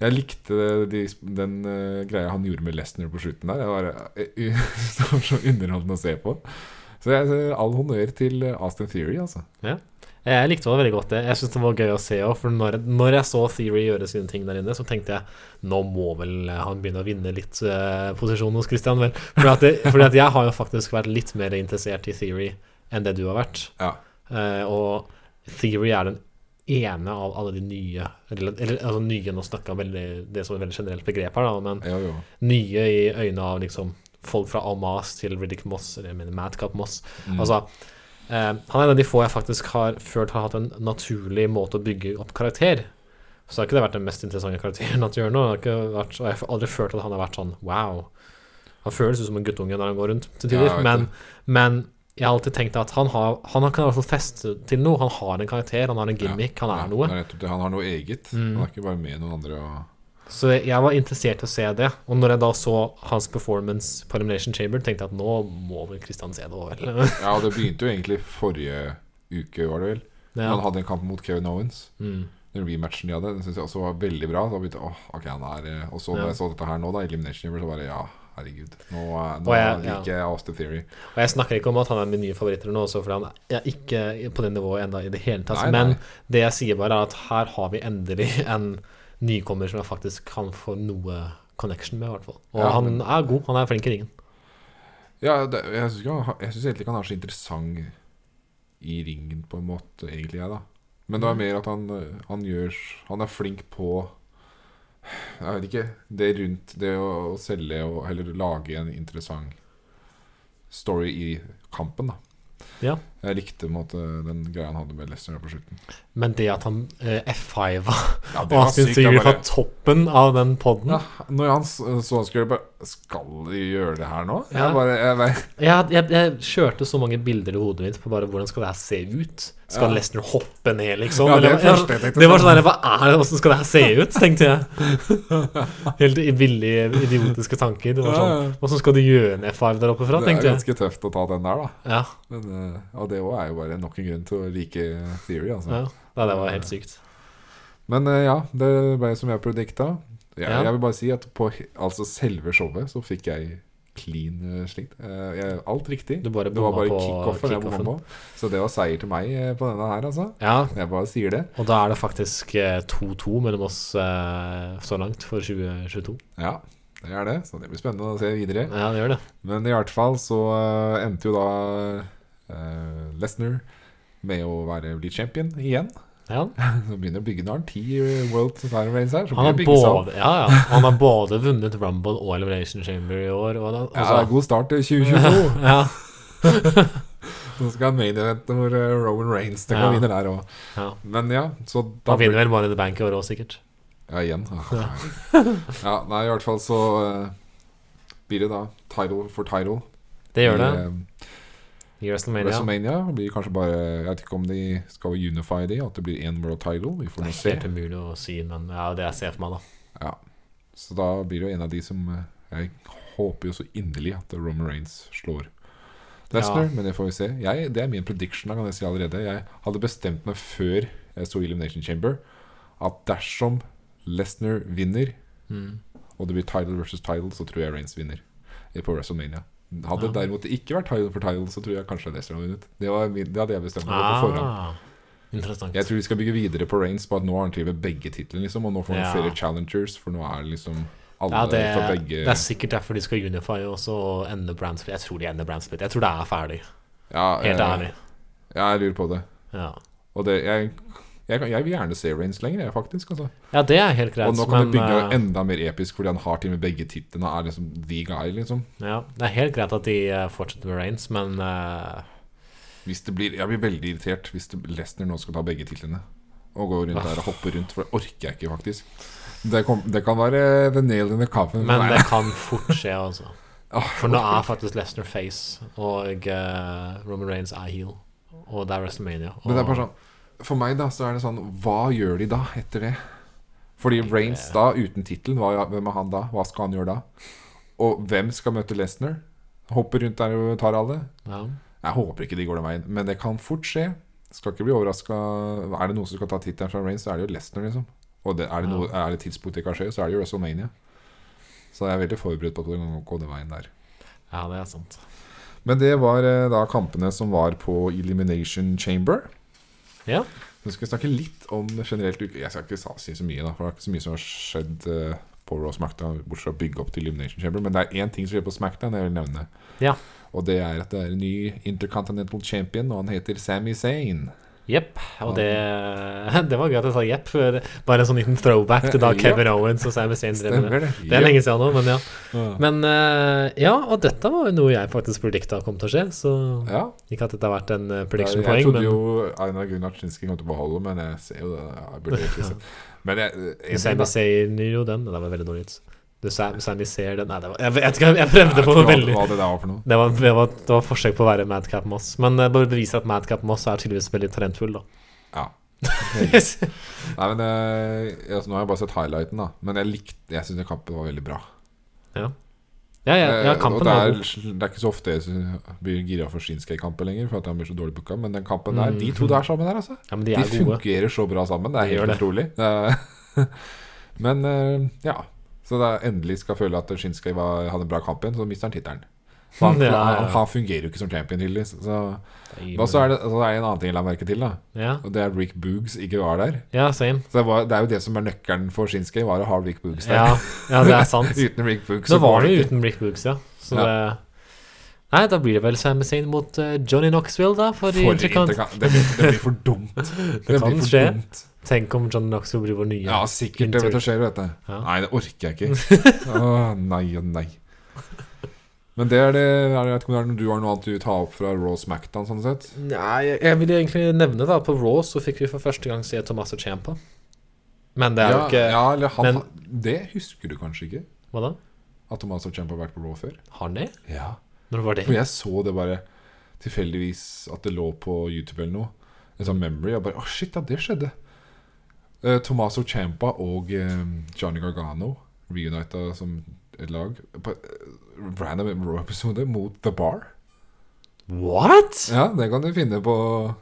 Speaker 1: Jeg likte de, den eh, greia han gjorde med Lesnar på slutten der. Det var, eh, [laughs] det var så underholdende å se på. Så jeg, all honnør til eh, Austin Theory, altså.
Speaker 2: Jeg likte det veldig godt, det. Jeg syns det var gøy å se òg, for når, når jeg så Theory gjøre sine ting der inne, så tenkte jeg nå må vel han begynne å vinne litt eh, posisjon hos Christian, vel. Fordi at, det, fordi at jeg har jo faktisk vært litt mer interessert i Theory enn det du har vært.
Speaker 1: Ja.
Speaker 2: Eh, og Theory er den ene av alle de nye Eller, eller altså nye, nå snakka jeg veldig det som et veldig generelt begrep her, da, men
Speaker 1: Jo, jo.
Speaker 2: nye i øynene av liksom folk fra Amas til Riddick Moss, eller jeg mener Madcap Moss.
Speaker 1: Mm.
Speaker 2: Altså, eh, han er en av de få jeg faktisk har følt har hatt en naturlig måte å bygge opp karakter. Så har ikke det vært den mest interessante karakteren at gjør nå. Det har ikke vært, og jeg har aldri følt at han har vært sånn wow. Han føles ut som en guttunge når han går rundt
Speaker 1: Ja,
Speaker 2: til tider,
Speaker 1: jeg vet
Speaker 2: men,
Speaker 1: det.
Speaker 2: men jeg har alltid tenkt at han, har, han kan i hvert fall feste til noe. Han har en karakter, han har en
Speaker 1: Ja.
Speaker 2: gimmick, han
Speaker 1: Ja,
Speaker 2: er noe.
Speaker 1: det er nettopp det. Han har noe eget.
Speaker 2: Mm.
Speaker 1: Han er ikke bare med noen andre. og...
Speaker 2: Så jeg var interessert i å se det. Og når jeg da så hans performance på Elimination Chamber, tenkte jeg at nå må vel Kristian se det òg, vel.
Speaker 1: Ja, og det begynte jo egentlig forrige uke, var det vel.
Speaker 2: [laughs] ja.
Speaker 1: Han hadde en kamp mot Kevin Owens.
Speaker 2: mm.
Speaker 1: Den rematchen de hadde, den synes jeg også var veldig bra. Da begynte jeg, åh, ok, han er eh», Og så
Speaker 2: Ja.
Speaker 1: når jeg så dette her nå, da, Elimination Chamber, så bare ja, herregud. Nå, eh, nå
Speaker 2: Og jeg- ja.
Speaker 1: liker jeg Austin Theory.
Speaker 2: Og jeg snakker ikke om at han er min nye favoritter nå, også, for han er ikke på det nivået enda i det hele tatt.
Speaker 1: Nei, nei.
Speaker 2: Men det jeg sier bare, er at her har vi endelig en nykommer som jeg faktisk kan få noe connection med, i hvert fall. Og
Speaker 1: Ja,
Speaker 2: han
Speaker 1: men-
Speaker 2: er god, han er flink i ringen.
Speaker 1: Ja, det, jeg syns egentlig ikke han er så interessant i ringen, på en måte, egentlig, jeg, da. Men
Speaker 2: Mm.
Speaker 1: det er mer at han, eh, han gjør Han er flink på Jeg vet ikke. Det rundt det å, å selge og heller lage en interessant story i kampen, da.
Speaker 2: Ja.
Speaker 1: Jeg likte på en måte, den greia han hadde med Lester på slutten.
Speaker 2: Men det at han eh, F5-a
Speaker 1: Ja, det var
Speaker 2: Austin
Speaker 1: sykt, det
Speaker 2: Theory fra
Speaker 1: bare-
Speaker 2: toppen av den poden
Speaker 1: ja, Når han s- så han skulle bare Skal de gjøre det her nå?
Speaker 2: Ja.
Speaker 1: Jeg bare, jeg, bare-
Speaker 2: jeg, jeg, jeg kjørte så mange bilder i hodet mitt på bare hvordan skal det her se ut. Skal
Speaker 1: Ja.
Speaker 2: Lesnar hoppe ned, liksom?
Speaker 1: Ja, det
Speaker 2: Eller-
Speaker 1: er det første jeg tenkte.
Speaker 2: det var sånn der, Hva er det, hvordan skal det her se ut?
Speaker 1: [laughs]
Speaker 2: tenkte jeg. Helt i- billige, idiotiske tanker. Det var
Speaker 1: Ja,
Speaker 2: sånn,
Speaker 1: ja.
Speaker 2: Hvordan skal du gjøre en F5 der oppe fra?
Speaker 1: Det er
Speaker 2: tenkte jeg.
Speaker 1: ganske tøft å ta den der, da.
Speaker 2: Ja,
Speaker 1: Men, eh, og det også er jo bare nok en grunn til å like Theory, altså.
Speaker 2: ja. Nei, det var helt sykt.
Speaker 1: Men eh, ja, det ble som jeg predikta. Jeg,
Speaker 2: Ja.
Speaker 1: jeg vil bare si at på he- altså selve showet så fikk jeg clean eh, slikt. Eh, jeg- alt riktig.
Speaker 2: Du bare
Speaker 1: det var
Speaker 2: bomma
Speaker 1: bare
Speaker 2: på
Speaker 1: kickoffen jeg bomma på. Så det var seier til meg eh, på denne her, altså.
Speaker 2: Ja,
Speaker 1: Jeg bare sier det.
Speaker 2: og da er det faktisk eh, 2-2 mellom oss eh, så langt for 2022.
Speaker 1: Ja, det er det. Så det blir spennende å se videre.
Speaker 2: Ja, det gjør det.
Speaker 1: Men i hvert fall så eh, endte jo da uh, Lesnar med å være, bli champion igjen. [laughs]
Speaker 2: Ja.
Speaker 1: Så begynner å bygge Nå har han ti eh, World Title Race her. Så
Speaker 2: Han,
Speaker 1: begynner det
Speaker 2: har
Speaker 1: å bygge seg opp.
Speaker 2: både, ja, ja. han har både vunnet Rumble og Elimination Chamber i år. Og
Speaker 1: Ja,
Speaker 2: da,
Speaker 1: det er [laughs]
Speaker 2: altså,
Speaker 1: god start til
Speaker 2: [laughs]
Speaker 1: 2022.
Speaker 2: ja.
Speaker 1: Så skal han main event hvor eh, Roman Reigns tenker
Speaker 2: Ja.
Speaker 1: han vinner der òg.
Speaker 2: Ja.
Speaker 1: Men ja, så da
Speaker 2: Han vinner vel Money in the Bank i år òg, sikkert.
Speaker 1: Ja, igjen. [laughs] Ja, nei, i hvert fall så eh, blir det da title for title.
Speaker 2: Det gjør det.
Speaker 1: I, eh,
Speaker 2: I WrestleMania.
Speaker 1: WrestleMania blir kanskje bare Jeg vet ikke om de skal unify de, at det blir én world title. Vi
Speaker 2: Det
Speaker 1: får
Speaker 2: er
Speaker 1: nå se.
Speaker 2: helt umulig å si, men det er jo det jeg ser for meg, da.
Speaker 1: Ja. Så da blir det jo en av de som eh, Jeg håper jo så inderlig at Roman Reigns slår Lesnar,
Speaker 2: Ja.
Speaker 1: men det får vi se. Jeg, det er min prediction, da kan jeg si allerede. Jeg hadde bestemt meg før jeg så Elimination Chamber, at dersom Lesnar vinner,
Speaker 2: Mm.
Speaker 1: og det blir title versus title, så tror jeg Reigns vinner eh, på WrestleMania. Hadde
Speaker 2: Ja.
Speaker 1: det derimot ikke vært title for title, så tror jeg kanskje Lesnar hadde vunnet. Det, var min, det hadde jeg bestemt meg for på forhånd.
Speaker 2: Ah, interessant.
Speaker 1: Jeg tror de skal bygge videre på Reigns, bare at nå har han til med begge titlene, liksom, og nå får han
Speaker 2: Ja.
Speaker 1: flere challengers, for nå er det liksom alle
Speaker 2: ja, det,
Speaker 1: fra begge
Speaker 2: det er sikkert derfor de skal unify også og ende brandsplit. Jeg tror de ender brandsplit. Jeg tror det er ferdig.
Speaker 1: ja,
Speaker 2: Helt
Speaker 1: eh,
Speaker 2: ærlig.
Speaker 1: Ja, jeg lurer på det.
Speaker 2: Ja,
Speaker 1: Og det, jeg, jeg, kan- jeg vil gjerne se Reigns lenger, jeg, faktisk. Altså.
Speaker 2: ja det er helt greit,
Speaker 1: Og nå kan
Speaker 2: men
Speaker 1: det bygge
Speaker 2: eh,
Speaker 1: enda mer episk, fordi han har til og med begge titlene, og er liksom the guy, liksom.
Speaker 2: ja, Det er helt greit at de eh, fortsetter med Reigns, men eh,
Speaker 1: Hvis det blir, jeg blir veldig irritert hvis det- Lesnar nå skal ta begge titlene. Og gå rundt der og hoppe rundt, for det orker jeg ikke, faktisk. Det, kom, det kan være the nail in the coffin.
Speaker 2: Men
Speaker 1: Nei,
Speaker 2: det kan fort skje,
Speaker 1: [laughs]
Speaker 2: altså.
Speaker 1: Ah.
Speaker 2: For nå er faktisk Lesnar face, og eh, Roman Reigns er heel. Og det er WrestleMania. Og
Speaker 1: Men det er bare sånn For meg da så er det sånn Hva gjør de da etter det? Fordi Reigns da, uten tittel, hva- hvem er han da? Hva skal han gjøre da? Og hvem skal møte Lesnar? Hopper rundt der og tar alle?
Speaker 2: ja.
Speaker 1: Jeg håper ikke de går den veien, men det kan fort skje. Skal ikke bli overraska. Er det noen som skal ta tittelen fra Reigns, så er det jo Lesnar, liksom. Og det, er, det noe, er det tidspunkt det kan skje, så er det jo WrestleMania. Så jeg er veldig forberedt på at det kan gå den veien der.
Speaker 2: ja, det er sant.
Speaker 1: Men det var eh, da kampene som var på Elimination Chamber.
Speaker 2: Ja.
Speaker 1: Nå skal vi snakke litt om generelt uke- Jeg skal ikke sa- si så mye, da, for det er ikke så mye som har skjedd eh, på Raw og SmackDown, bortsett fra å bygge opp til Elimination Chamber. Men det er én ting som skjer på SmackDown jeg vil nevne.
Speaker 2: Ja.
Speaker 1: Og det er at det er en ny Intercontinental Champion, og han heter Sami Zayn.
Speaker 2: Jepp. Og det, det [laughs] var gøy at jeg sa jepp. for Bare en sånn liten throwback til da
Speaker 1: Ja.
Speaker 2: Kevin Owens og Sami Zayn drev med det.
Speaker 1: Stemmer det?
Speaker 2: Det er lenge siden nå, men ja.
Speaker 1: Ja.
Speaker 2: Men eh, ja, og dette var jo noe jeg faktisk predikta kom til å skje, så
Speaker 1: Ja.
Speaker 2: ikke at dette har vært en eh, prediction
Speaker 1: Jeg
Speaker 2: poeng,
Speaker 1: trodde
Speaker 2: men [laughs]
Speaker 1: jo Einar Gunnar Chinski kom til å beholde, men jeg ser jo det. liksom. Jeg burde
Speaker 2: [laughs]
Speaker 1: egentlig se. Men jeg, jeg,
Speaker 2: Sami
Speaker 1: jeg,
Speaker 2: ser jo den. Det var veldig dårlig vits. Du, Sam- Sami ser den Nei, det var, jeg, vet ikke, jeg prøvde på noe veldig
Speaker 1: hva det der var for noe.
Speaker 2: det var, det, var, det var forsøk på å være Madcap Moss, men det bare beviser at Madcap Moss er tydeligvis veldig talentfull, da.
Speaker 1: Ja. Nei, men eh, altså, Nå har jeg bare sett highlighten, da. Men jeg likte Jeg syns kampen var veldig bra.
Speaker 2: ja, ja, ja,
Speaker 1: Eh,
Speaker 2: kampen
Speaker 1: og det,
Speaker 2: var
Speaker 1: er,
Speaker 2: god.
Speaker 1: det er ikke så ofte jeg sy- blir gira for Shinskei-kampen lenger, for at han blir så dårlig booka, men den kampen der,
Speaker 2: Mm.
Speaker 1: de to der sammen der, altså.
Speaker 2: Ja, men de
Speaker 1: De
Speaker 2: er gode.
Speaker 1: fungerer så bra sammen. Det er
Speaker 2: De gjør
Speaker 1: helt
Speaker 2: det.
Speaker 1: utrolig. Eh, [laughs] Men eh, ja. Så da jeg endelig skal føle at Shinskei var, hadde en bra kamp igjen, så mister han
Speaker 2: [laughs]
Speaker 1: tittelen. For Han,
Speaker 2: Ja, ja, ja.
Speaker 1: han, han fungerer jo ikke som champion, tydeligvis. Så, og så er det, så er det en annen ting jeg la merke til, da.
Speaker 2: Ja,
Speaker 1: Og det er Rick Boogs ikke var der.
Speaker 2: ja same.
Speaker 1: Så det, var, det er jo det som er nøkkelen for Shinskei, var å ha Rick Boogs der.
Speaker 2: Ja, ja, det er sant.
Speaker 1: [laughs] Uten Rick Boogs
Speaker 2: Nå var
Speaker 1: går
Speaker 2: det jo
Speaker 1: ikke.
Speaker 2: uten Brick Boogs, ja. Så
Speaker 1: Ja.
Speaker 2: det Nei, da blir det vel Sami Zayn mot eh, Johnny Knoxville, da, for,
Speaker 1: For
Speaker 2: Intercont.
Speaker 1: interkan- Det, blir, det blir for
Speaker 2: [laughs]
Speaker 1: dumt. Det,
Speaker 2: kan
Speaker 1: blir for
Speaker 2: skje.
Speaker 1: Dumt.
Speaker 2: Tenk om Johnny Knoxville blir vår nye.
Speaker 1: Ja, sikkert. Det vet jeg skjer, vet du.
Speaker 2: Ja.
Speaker 1: Nei, det orker
Speaker 2: [laughs]
Speaker 1: jeg ikke. Åh, nei og nei. Men det er det er det- Jeg vet ikke om det er noe du har noe annet du tar opp fra Raw Smackdown, sånn sett?
Speaker 2: Nei, jeg, jeg vil egentlig nevne, da, på Raw så fikk vi for første gang se Tomasso Ciampa. Men det er jo
Speaker 1: ja,
Speaker 2: ikke
Speaker 1: ja, eller han,
Speaker 2: men-
Speaker 1: Det husker du kanskje ikke?
Speaker 2: Hva da?
Speaker 1: At Tomas og Champa har vært på Raw før?
Speaker 2: Har han det?
Speaker 1: Ja
Speaker 2: Når var det?
Speaker 1: For jeg så det bare tilfeldigvis at det lå på YouTube eller noe. En sånn memory. Og bare Å, shit, ja, det skjedde. Eh, Tommaso Champa og eh, Johnny Gargano reunita som et lag på eh, random Raw-episode mot The Bar.
Speaker 2: What?!
Speaker 1: Ja, det kan du finne på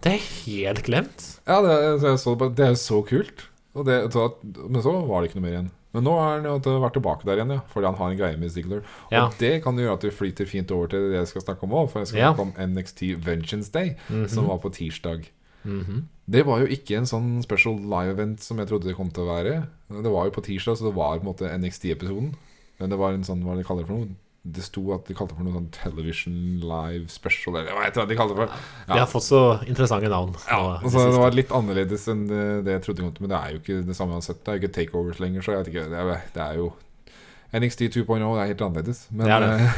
Speaker 2: Det er helt glemt.
Speaker 1: Ja, det, så jeg så det, bare, det er så kult. Og det, så at, men så var det ikke noe mer igjen. Men nå har han jo til- vært tilbake der igjen, ja. Fordi han har en greie med Ziggler.
Speaker 2: Ja.
Speaker 1: Og det kan jo gjøre at vi flyter fint over til det jeg skal snakke om òg. For jeg skal
Speaker 2: Ja.
Speaker 1: snakke om NXT Vengeance Day, som var på tirsdag.
Speaker 2: Mhm.
Speaker 1: Det var jo ikke en sånn special live event som jeg trodde det kom til å være. Det var jo på tirsdag, så det var på en måte NXT-episoden. Men det var en sånn, hva de kaller det for noe? Det sto at de kalte det for noe sånn Television Live Special, eller hva heter det de kaller det for?
Speaker 2: De har fått så interessante navn.
Speaker 1: Ja, altså,
Speaker 2: nå i det
Speaker 1: det
Speaker 2: siste.
Speaker 1: var litt annerledes enn det det jeg trodde. det kom til, Men det er jo ikke det samme uansett. Det er jo ikke takeovers lenger, så jeg vet ikke. Det er, det er jo NXT 2.0 oh, det er helt annerledes. Men
Speaker 2: Det er det.
Speaker 1: eh,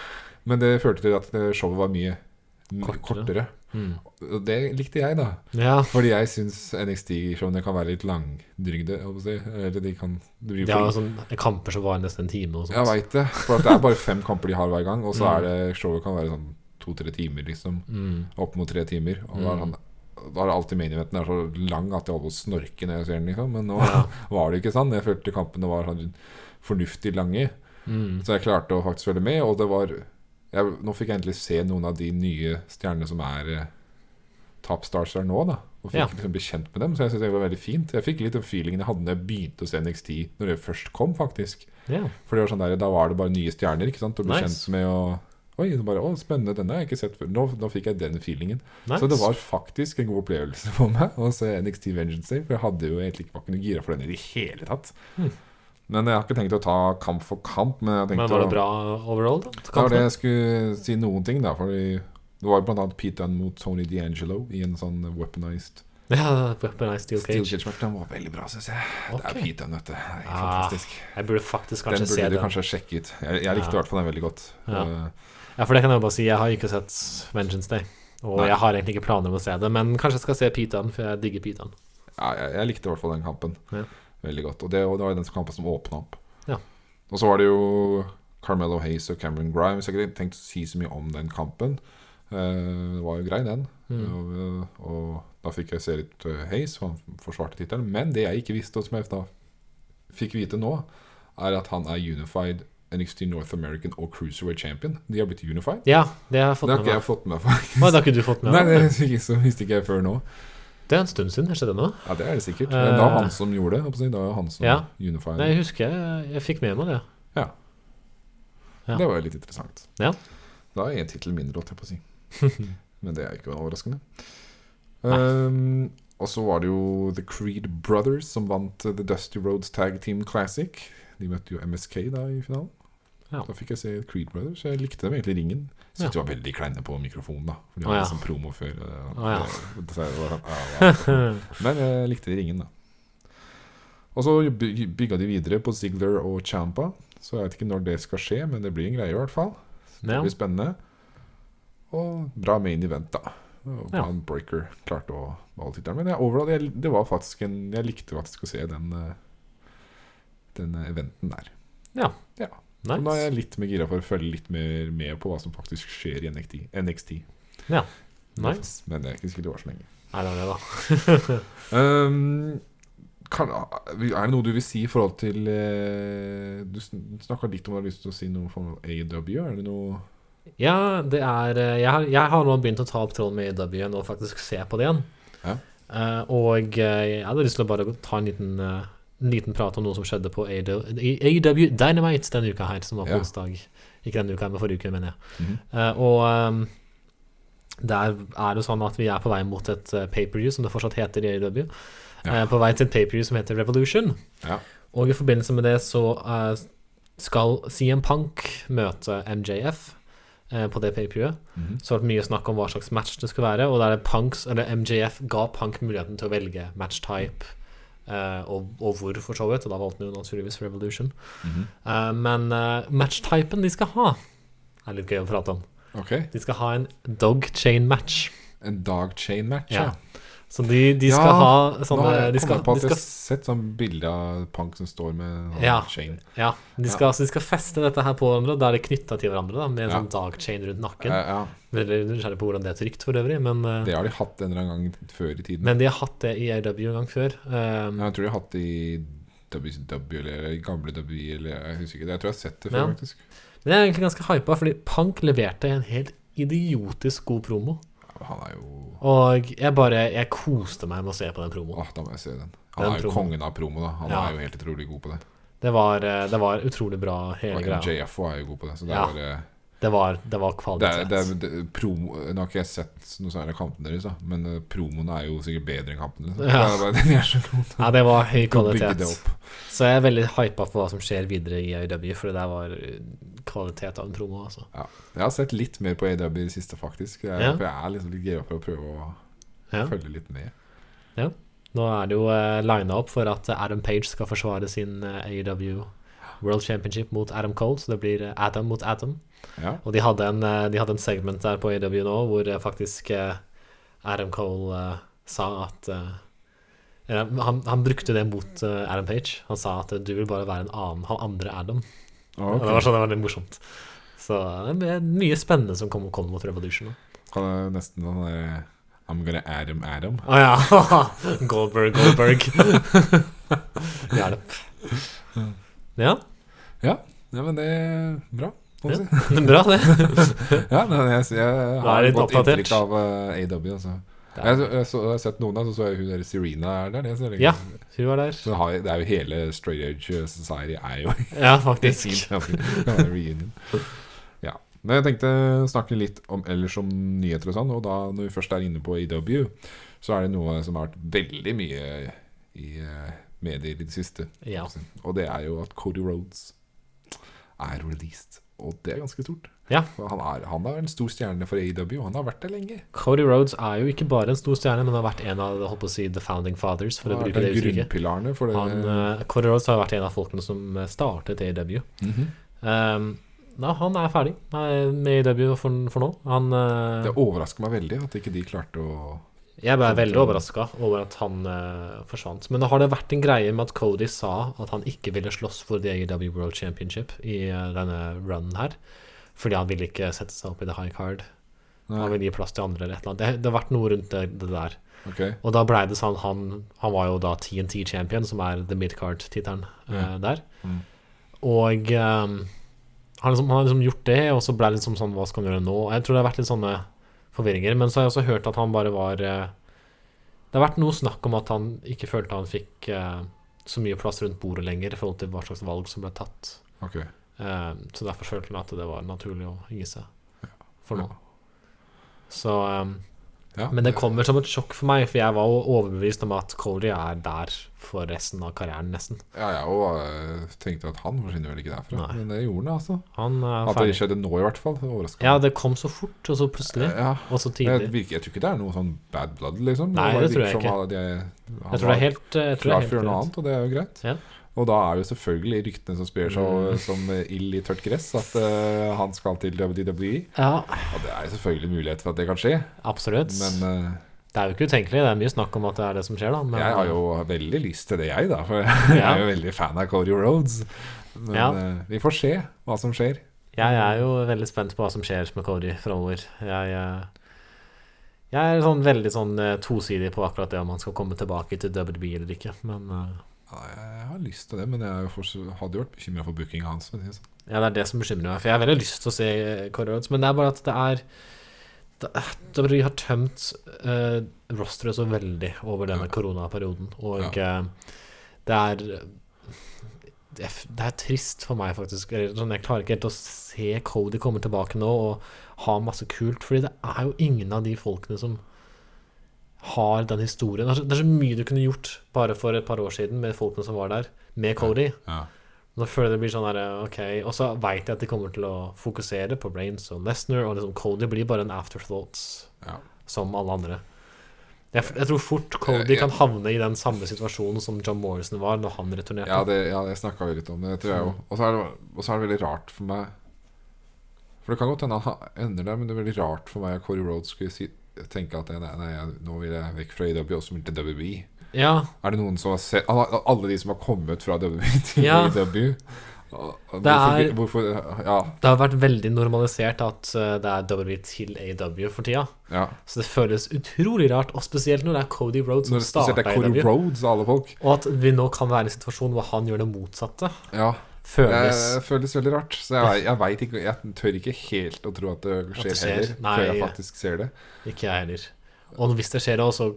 Speaker 1: [laughs] men det førte til at eh, showet var mye kortere. kortere.
Speaker 2: Kortere. Mm.
Speaker 1: Og det likte jeg, da.
Speaker 2: Ja,
Speaker 1: Fordi jeg syns NXT-showene kan være litt langdrygde. jeg håper å si. Eller de kan det blir
Speaker 2: de
Speaker 1: for-
Speaker 2: har jo sånne kamper som varer nesten en time og
Speaker 1: Jeg
Speaker 2: sånt.
Speaker 1: veit det. For at det er bare fem kamper de har hver gang. Og så er det showet kan være sånn to-tre timer, liksom.
Speaker 2: Mm.
Speaker 1: opp mot tre timer. Og da er han da er det alltid main eventen er så lang at jeg holder på å snorke når jeg ser den. Liksom. Men nå
Speaker 2: Ja.
Speaker 1: [laughs] var det ikke sånn. Jeg følte kampene var sånn fornuftig lange.
Speaker 2: Mm.
Speaker 1: Så jeg klarte å faktisk følge med. Og det var jeg, Nå fikk jeg endelig se noen av de nye stjernene som er eh, top stars der nå. da Og fikk
Speaker 2: Ja.
Speaker 1: liksom bli kjent med dem. Så jeg synes det var veldig fint. Jeg fikk litt den feelingen jeg hadde da jeg begynte å se NXT, når det først kom, faktisk.
Speaker 2: Ja.
Speaker 1: For det var sånn der, Da var det bare nye stjerner. ikke sant? Og ble
Speaker 2: Nice.
Speaker 1: kjent med å Oi, det bare, å, spennende, denne har jeg ikke sett før. Nå, nå fikk jeg den feelingen.
Speaker 2: Nice.
Speaker 1: Så det var faktisk en god opplevelse for meg å se NXT Vengeance Day. For jeg hadde jo egentlig ikke var ikke noe gira for den i det hele tatt.
Speaker 2: Hmm.
Speaker 1: Men jeg har ikke tenkt å ta kamp for kamp. Men jeg tenkte
Speaker 2: Men var det
Speaker 1: å-
Speaker 2: bra overall, da?
Speaker 1: Det var det jeg skulle si noen ting, da. For det var jo blant annet Pete Dunn mot Tony D'Angelo i en sånn weaponized
Speaker 2: Ja, Weaponized Steel
Speaker 1: steel
Speaker 2: Cage.
Speaker 1: cage match. Den var veldig bra, syns jeg. Det er
Speaker 2: Ok.
Speaker 1: Pete Dunn, vet du. Det er
Speaker 2: Ah,
Speaker 1: fantastisk.
Speaker 2: Jeg burde faktisk kanskje
Speaker 1: Den
Speaker 2: se
Speaker 1: burde du
Speaker 2: den.
Speaker 1: kanskje sjekke ut. Jeg, jeg likte i
Speaker 2: Ja.
Speaker 1: hvert fall den veldig godt.
Speaker 2: Ja.
Speaker 1: Eh,
Speaker 2: Ja, for det kan jeg jo bare si, jeg har ikke sett Vengeance Day. Og
Speaker 1: Nei.
Speaker 2: jeg har egentlig ikke planer om å se det, men kanskje jeg skal se Pyton, for jeg digger Pyton.
Speaker 1: Ja, jeg, jeg likte i hvert fall den kampen
Speaker 2: Ja.
Speaker 1: veldig godt. Og det, og det var jo den kampen som åpna opp.
Speaker 2: Ja.
Speaker 1: Og så var det jo Carmelo Hayes og Cameron Grimes. Jeg har ikke tenkt å si så mye om den kampen. Eh, det var jo grei, den.
Speaker 2: Mm.
Speaker 1: Og, og da fikk jeg se litt eh, Hayes, og han forsvarte tittelen. Men det jeg ikke visste, og som jeg da fikk vite nå, er at han er unified NXT North American og Cruiserweight Champion. De har blitt unified.
Speaker 2: Ja, det har jeg
Speaker 1: Det
Speaker 2: fått
Speaker 1: har
Speaker 2: med
Speaker 1: ikke
Speaker 2: meg.
Speaker 1: jeg fått med meg.
Speaker 2: Å, det har ikke du fått
Speaker 1: [laughs]
Speaker 2: med
Speaker 1: Nei, det
Speaker 2: deg?
Speaker 1: fikk jeg- så visste ikke jeg før nå.
Speaker 2: Det er en stund siden. Skjedde det nå?
Speaker 1: Ja, Det er det sikkert. Men det var
Speaker 2: Eh.
Speaker 1: han som gjorde det. holdt på å si. Det var han som
Speaker 2: Ja.
Speaker 1: unified.
Speaker 2: Nei, jeg husker jeg, jeg fikk med meg det. Ja.
Speaker 1: Det var jo litt interessant.
Speaker 2: Ja.
Speaker 1: Da er én tittel mindre, holdt jeg
Speaker 2: [laughs]
Speaker 1: på å si. Men det er jo ikke overraskende. Um, og så var det jo The Creed Brothers som vant eh, The Dusty Roads Tag Team Classic. De møtte jo MSK da i finalen.
Speaker 2: Ja.
Speaker 1: Da fikk jeg se Creed Brothers. Jeg likte dem egentlig i ringen. Syntes de var veldig kleine på mikrofonen, da. For de
Speaker 2: Å,
Speaker 1: hadde
Speaker 2: ja.
Speaker 1: liksom promo før. eh,
Speaker 2: Å, ja.
Speaker 1: det- så jeg var sånn, ja, ja. Men jeg likte de ringen, da. Og så by- bygga de videre på Ziggler og Champa. Så jeg vet ikke når det skal skje, men det blir en greie i hvert fall. Så
Speaker 2: Ja.
Speaker 1: Det blir spennende. Og bra main event, da. Og
Speaker 2: Ja.
Speaker 1: Brown Breaker klarte å beholde tittelen. Men jeg, overall, jeg, det var faktisk en, jeg likte faktisk å se den, eh, den eh, eventen der. Så nå er
Speaker 2: Nice.
Speaker 1: jeg litt mer gira for å følge litt mer med på hva som faktisk skjer i NXT. NXT.
Speaker 2: nice.
Speaker 1: Men det er ikke sikkert det var så lenge.
Speaker 2: Nei, det var det, da.
Speaker 1: Ehm, kan, er det noe du vil si i forhold til eh, Du sn- snakka litt om at du har lyst til å si noe om AW. Er det noe
Speaker 2: Ja, det er eh, jeg har, jeg har nå begynt å ta opp tråden med AW igjen og faktisk se på det igjen.
Speaker 1: Ja.
Speaker 2: Eh, og eh, jeg hadde lyst til å bare ta en liten, eh, en liten prat om noe som skjedde på AW i AW Dynamite denne uka her, som var på
Speaker 1: Ja.
Speaker 2: onsdag. Ikke denne uka, men forrige uke, mener jeg.
Speaker 1: Mhm.
Speaker 2: Eh, og ehm, der er det sånn at vi er på vei mot et eh, pay-per-view, som det fortsatt heter i AW.
Speaker 1: Ja.
Speaker 2: på vei til et pay-per-view som heter Revolution.
Speaker 1: Ja.
Speaker 2: Og i forbindelse med det så eh, skal CM Punk møte MJF eh, på det pay-per-viewet.
Speaker 1: Mhm.
Speaker 2: Så har det vært mye snakk om hva slags match det skulle være, og der er Punks, eller MJF ga Punk muligheten til å velge match-type eh, og, og hvor, for så vidt, og da valgte han jo naturligvis Revolution.
Speaker 1: Mhm.
Speaker 2: Eh, men eh, match-typen de skal ha, er litt gøy å prate om.
Speaker 1: Ok.
Speaker 2: De skal ha en dog chain match.
Speaker 1: En dog chain match,
Speaker 2: Ja.
Speaker 1: ja.
Speaker 2: Så de, de
Speaker 1: Ja,
Speaker 2: skal ha
Speaker 1: Nå
Speaker 2: sånne
Speaker 1: har jeg
Speaker 2: de
Speaker 1: kommet
Speaker 2: skal,
Speaker 1: på
Speaker 2: de
Speaker 1: at jeg
Speaker 2: skal,
Speaker 1: har sett sånn bilde av Punk som står med en sånn
Speaker 2: Ja.
Speaker 1: chain.
Speaker 2: ja, de skal, Så de skal feste dette her på hverandre, og da er det knytta til hverandre da, med en
Speaker 1: Ja.
Speaker 2: sånn dog chain rundt
Speaker 1: Eh,
Speaker 2: nakken.
Speaker 1: ja.
Speaker 2: Veldig nysgjerrig på hvordan det er trygt, for øvrig, men, eh,
Speaker 1: Det har de hatt en eller annen gang før i tiden.
Speaker 2: men de har hatt det i AW en gang før. eh,
Speaker 1: Ja, jeg tror de har hatt det i WCW eller i gamle W E, eller Jeg husker ikke. Jeg tror jeg har sett det før,
Speaker 2: Ja.
Speaker 1: faktisk.
Speaker 2: Men jeg er egentlig ganske hypa, fordi Punk leverte en helt idiotisk god promo.
Speaker 1: Ja, Han er jo
Speaker 2: Og jeg bare Jeg koste meg med å se på den promoen.
Speaker 1: Åh, da må jeg se den.
Speaker 2: Den
Speaker 1: Han er jo
Speaker 2: promo.
Speaker 1: kongen av promo, da. Han
Speaker 2: Ja.
Speaker 1: er jo helt utrolig god på det.
Speaker 2: Det var, eh, det var utrolig bra, hele
Speaker 1: Og
Speaker 2: greia.
Speaker 1: MJF var jo god på det. Så det
Speaker 2: Ja.
Speaker 1: er bare
Speaker 2: Det var, det var
Speaker 1: det er,
Speaker 2: kvalitet.
Speaker 1: det er, det er promo, Nå har ikke jeg sett noe særlig av kampene deres, da men eh, promoene er jo sikkert bedre enn kampene. Liksom.
Speaker 2: Ja.
Speaker 1: Det er bare, de er så gode til
Speaker 2: Ja, det
Speaker 1: [laughs]
Speaker 2: var
Speaker 1: å bygge
Speaker 2: høy kvalitet.
Speaker 1: det opp.
Speaker 2: Så jeg er veldig hypa for hva som skjer videre i AW, for det der var eh, kvalitet av en promo, altså.
Speaker 1: Jeg har sett litt mer på AW i det siste, faktisk. Jeg,
Speaker 2: Ja.
Speaker 1: For jeg er liksom litt gira for å prøve å
Speaker 2: Ja.
Speaker 1: følge litt med.
Speaker 2: Nå er det jo eh, lina opp for at eh, Adam Page skal forsvare sin eh, AW World Championship mot Adam Cole, så det blir eh, Adam mot Adam.
Speaker 1: Ja.
Speaker 2: Og de hadde en, eh, de hadde en segment der på AW nå hvor eh, faktisk eh, Adam Cole eh, sa at eh, eh, han, han brukte det mot eh, Adam Page. Han sa at eh, du vil bare være en annen, han andre Adam.
Speaker 1: Ah, ok.
Speaker 2: Og Det var sånn det var litt morsomt. Så eh, det er mye spennende som kommer kom mot Revolution. nå.
Speaker 1: Han er nesten sånn der, I'm gonna Adam Adam.
Speaker 2: Å ja! [laughs] Goldberg, [laughs] Goldberg. Hjelp. Ja,
Speaker 1: Ja, men det er bra. må man si.
Speaker 2: bra det. [laughs]
Speaker 1: Ja, men jeg, jeg, jeg
Speaker 2: Da er
Speaker 1: har
Speaker 2: det
Speaker 1: et godt
Speaker 2: oppdatert.
Speaker 1: inntrykk av eh, AW. Altså.
Speaker 2: Det
Speaker 1: Jeg, så- jeg, så, jeg har sett noen der, så så jeg hun der Serena er der. Det, ser jeg-
Speaker 2: Ja. Hun var der.
Speaker 1: Så har, det er jo hele Straight Edge Society er jo [laughs]
Speaker 2: Ja,
Speaker 1: i
Speaker 2: faktisk.
Speaker 1: sin reunion. Ja. Men jeg tenkte å snakke litt om ellers om nyheter og sånn, og da når vi først er inne på EW, så er det noe som har vært veldig mye i eh, medier i det siste.
Speaker 2: Ja.
Speaker 1: Og det er jo at Cody Rhodes er released. Og det er ganske stort.
Speaker 2: Ja.
Speaker 1: For Han, er, han er en stor stjerne for AW, og han har vært det lenge.
Speaker 2: Cody Rhodes er jo ikke bare en stor stjerne, men har vært en av holdt på å si, the founding fathers, for å
Speaker 1: Han har
Speaker 2: bruke det
Speaker 1: vært en
Speaker 2: uttrykket. eh,
Speaker 1: grunnpilarene for det.
Speaker 2: Han, eh, Cody Rhodes har vært en av folkene som startet AEW.
Speaker 1: Mhm.
Speaker 2: E Um, Nei, han er ferdig Nei, med IW for, for nå. Han eh,
Speaker 1: Det overrasker meg veldig at ikke de klarte å
Speaker 2: Jeg ble veldig overraska over at han eh, forsvant. Men har det vært en greie med at Cody sa at han ikke ville slåss for The AEW World Championship i eh, denne runen her? Fordi han ville ikke sette seg opp i the high card. Han
Speaker 1: Nei,
Speaker 2: ville gi plass til andre eller et eller annet. Det, det har vært noe rundt det, det der.
Speaker 1: ok.
Speaker 2: Og da blei det sånn han, han var jo da TNT champion, som er the midcard-tittelen eh, der.
Speaker 1: Mm.
Speaker 2: Og eh, han, liksom, han har liksom gjort det, og så blei det liksom sånn Hva skal han gjøre nå? Jeg tror det har vært litt sånne forvirringer. Men så har jeg også hørt at han bare var eh, Det har vært noe snakk om at han ikke følte han fikk eh, så mye plass rundt bordet lenger i forhold til hva slags valg som ble tatt.
Speaker 1: ok
Speaker 2: Eh, så derfor følte han at det var naturlig å gi seg for nå.
Speaker 1: Ja.
Speaker 2: Så eh,
Speaker 1: Ja,
Speaker 2: men det kommer som et sjokk for meg, for jeg var jo overbevist om at Cody er der for resten av karrieren, nesten.
Speaker 1: ja, jeg òg eh, tenkte at han forsvinner vel ikke derfra.
Speaker 2: Nei.
Speaker 1: Men det gjorde han, altså.
Speaker 2: Han er
Speaker 1: At det
Speaker 2: ferdig.
Speaker 1: skjedde nå, i hvert fall. Det overrasker
Speaker 2: Ja,
Speaker 1: meg.
Speaker 2: det kom så fort, og så plutselig,
Speaker 1: Ja,
Speaker 2: og så
Speaker 1: Eh, men jeg,
Speaker 2: tidlig.
Speaker 1: virker, jeg tror ikke det er noe sånn bad blood, liksom.
Speaker 2: Nei,
Speaker 1: bare
Speaker 2: det tror jeg
Speaker 1: virker som
Speaker 2: ikke.
Speaker 1: at de- han
Speaker 2: Jeg tror det
Speaker 1: var
Speaker 2: er helt eh, jeg tror det
Speaker 1: klar
Speaker 2: er
Speaker 1: for å gjøre noe
Speaker 2: helt greit.
Speaker 1: annet, og det er jo greit.
Speaker 2: Ja.
Speaker 1: Og da er jo selvfølgelig ryktene som sprer seg
Speaker 2: Mm.
Speaker 1: og- som ild i tørt gress, at eh, han skal til WWE.
Speaker 2: Ja,
Speaker 1: Og det er jo selvfølgelig mulighet for at det kan skje,
Speaker 2: absolutt.
Speaker 1: men eh,
Speaker 2: det er jo ikke utenkelig. Det er mye snakk om at det er det som skjer, da. Men,
Speaker 1: jeg har jo veldig lyst til det, jeg, da. For [laughs] jeg
Speaker 2: Ja.
Speaker 1: er jo veldig fan av Cody Roads. Men
Speaker 2: Ja.
Speaker 1: eh, vi får se hva som skjer.
Speaker 2: eh, jeg er jo veldig spent på hva som skjer med Cody framover. Jeg, eh, jeg er sånn veldig sånn eh, tosidig på akkurat det om han skal komme tilbake til WB eller ikke, men eh,
Speaker 1: Ja, jeg har lyst til det, men jeg er jo fortsatt- hadde jo vært bekymra for bookinga hans. for å si det sånn.
Speaker 2: Ja, det er det som bekymrer meg. For jeg har veldig lyst til å se eh, Cody Rhodes, men det er bare at det er det er- WWE har tømt uh, rosteret så veldig over denne
Speaker 1: Ja.
Speaker 2: koronaperioden, og eh, det er det er f- det er trist for meg, faktisk. Eller Sånn, jeg klarer ikke helt å se Cody komme tilbake nå og ha masse kult, fordi det er jo ingen av de folkene som har den historien. Det er så, det er så mye du kunne gjort bare for et par år siden med folkene som var der, med Cody.
Speaker 1: Ja.
Speaker 2: Nå føler jeg det blir sånn der, ok Og så vet jeg at de kommer til å fokusere på Reigns og Lesnar, og liksom Cody blir bare en afterthought,
Speaker 1: Ja.
Speaker 2: som alle andre. Jeg, f- jeg tror fort Cody
Speaker 1: Jeg-
Speaker 2: kan havne i den samme situasjonen som John Morrison var når han returnerte.
Speaker 1: Ja, det, ja, jeg snakka jo litt om det, det tror jeg òg. Og så er det- og så er det veldig rart for meg For det kan godt hende han ender der, men det er veldig rart for meg at Corey Road skulle si, tenke at nei, nei, jeg- nå vil jeg vekk fra AW og så vil jeg til WWE.
Speaker 2: ja,
Speaker 1: Er det noen som har sett alle- Alle de som har kommet fra WWE [laughs] til
Speaker 2: Ja.
Speaker 1: AW? og- og
Speaker 2: Det
Speaker 1: Hvorfor,
Speaker 2: er-
Speaker 1: hvorfor Ja.
Speaker 2: det har vært veldig normalisert at eh, det er WWE til AW for tida.
Speaker 1: ja.
Speaker 2: Så det føles utrolig rart, og spesielt når det er Cody Rhodes
Speaker 1: Når
Speaker 2: som
Speaker 1: det spesielt
Speaker 2: starta
Speaker 1: er Corey
Speaker 2: AW.
Speaker 1: Roads og alle folk.
Speaker 2: Og at vi nå kan være i en situasjon hvor han gjør det motsatte,
Speaker 1: Ja,
Speaker 2: føles
Speaker 1: det føles veldig rart. Så jeg, jeg vet ikke Jeg tør ikke helt å tro at det
Speaker 2: At det
Speaker 1: skjer
Speaker 2: skjer.
Speaker 1: heller,
Speaker 2: Nei.
Speaker 1: før jeg faktisk ser det.
Speaker 2: Ikke jeg heller. Og hvis det skjer òg, så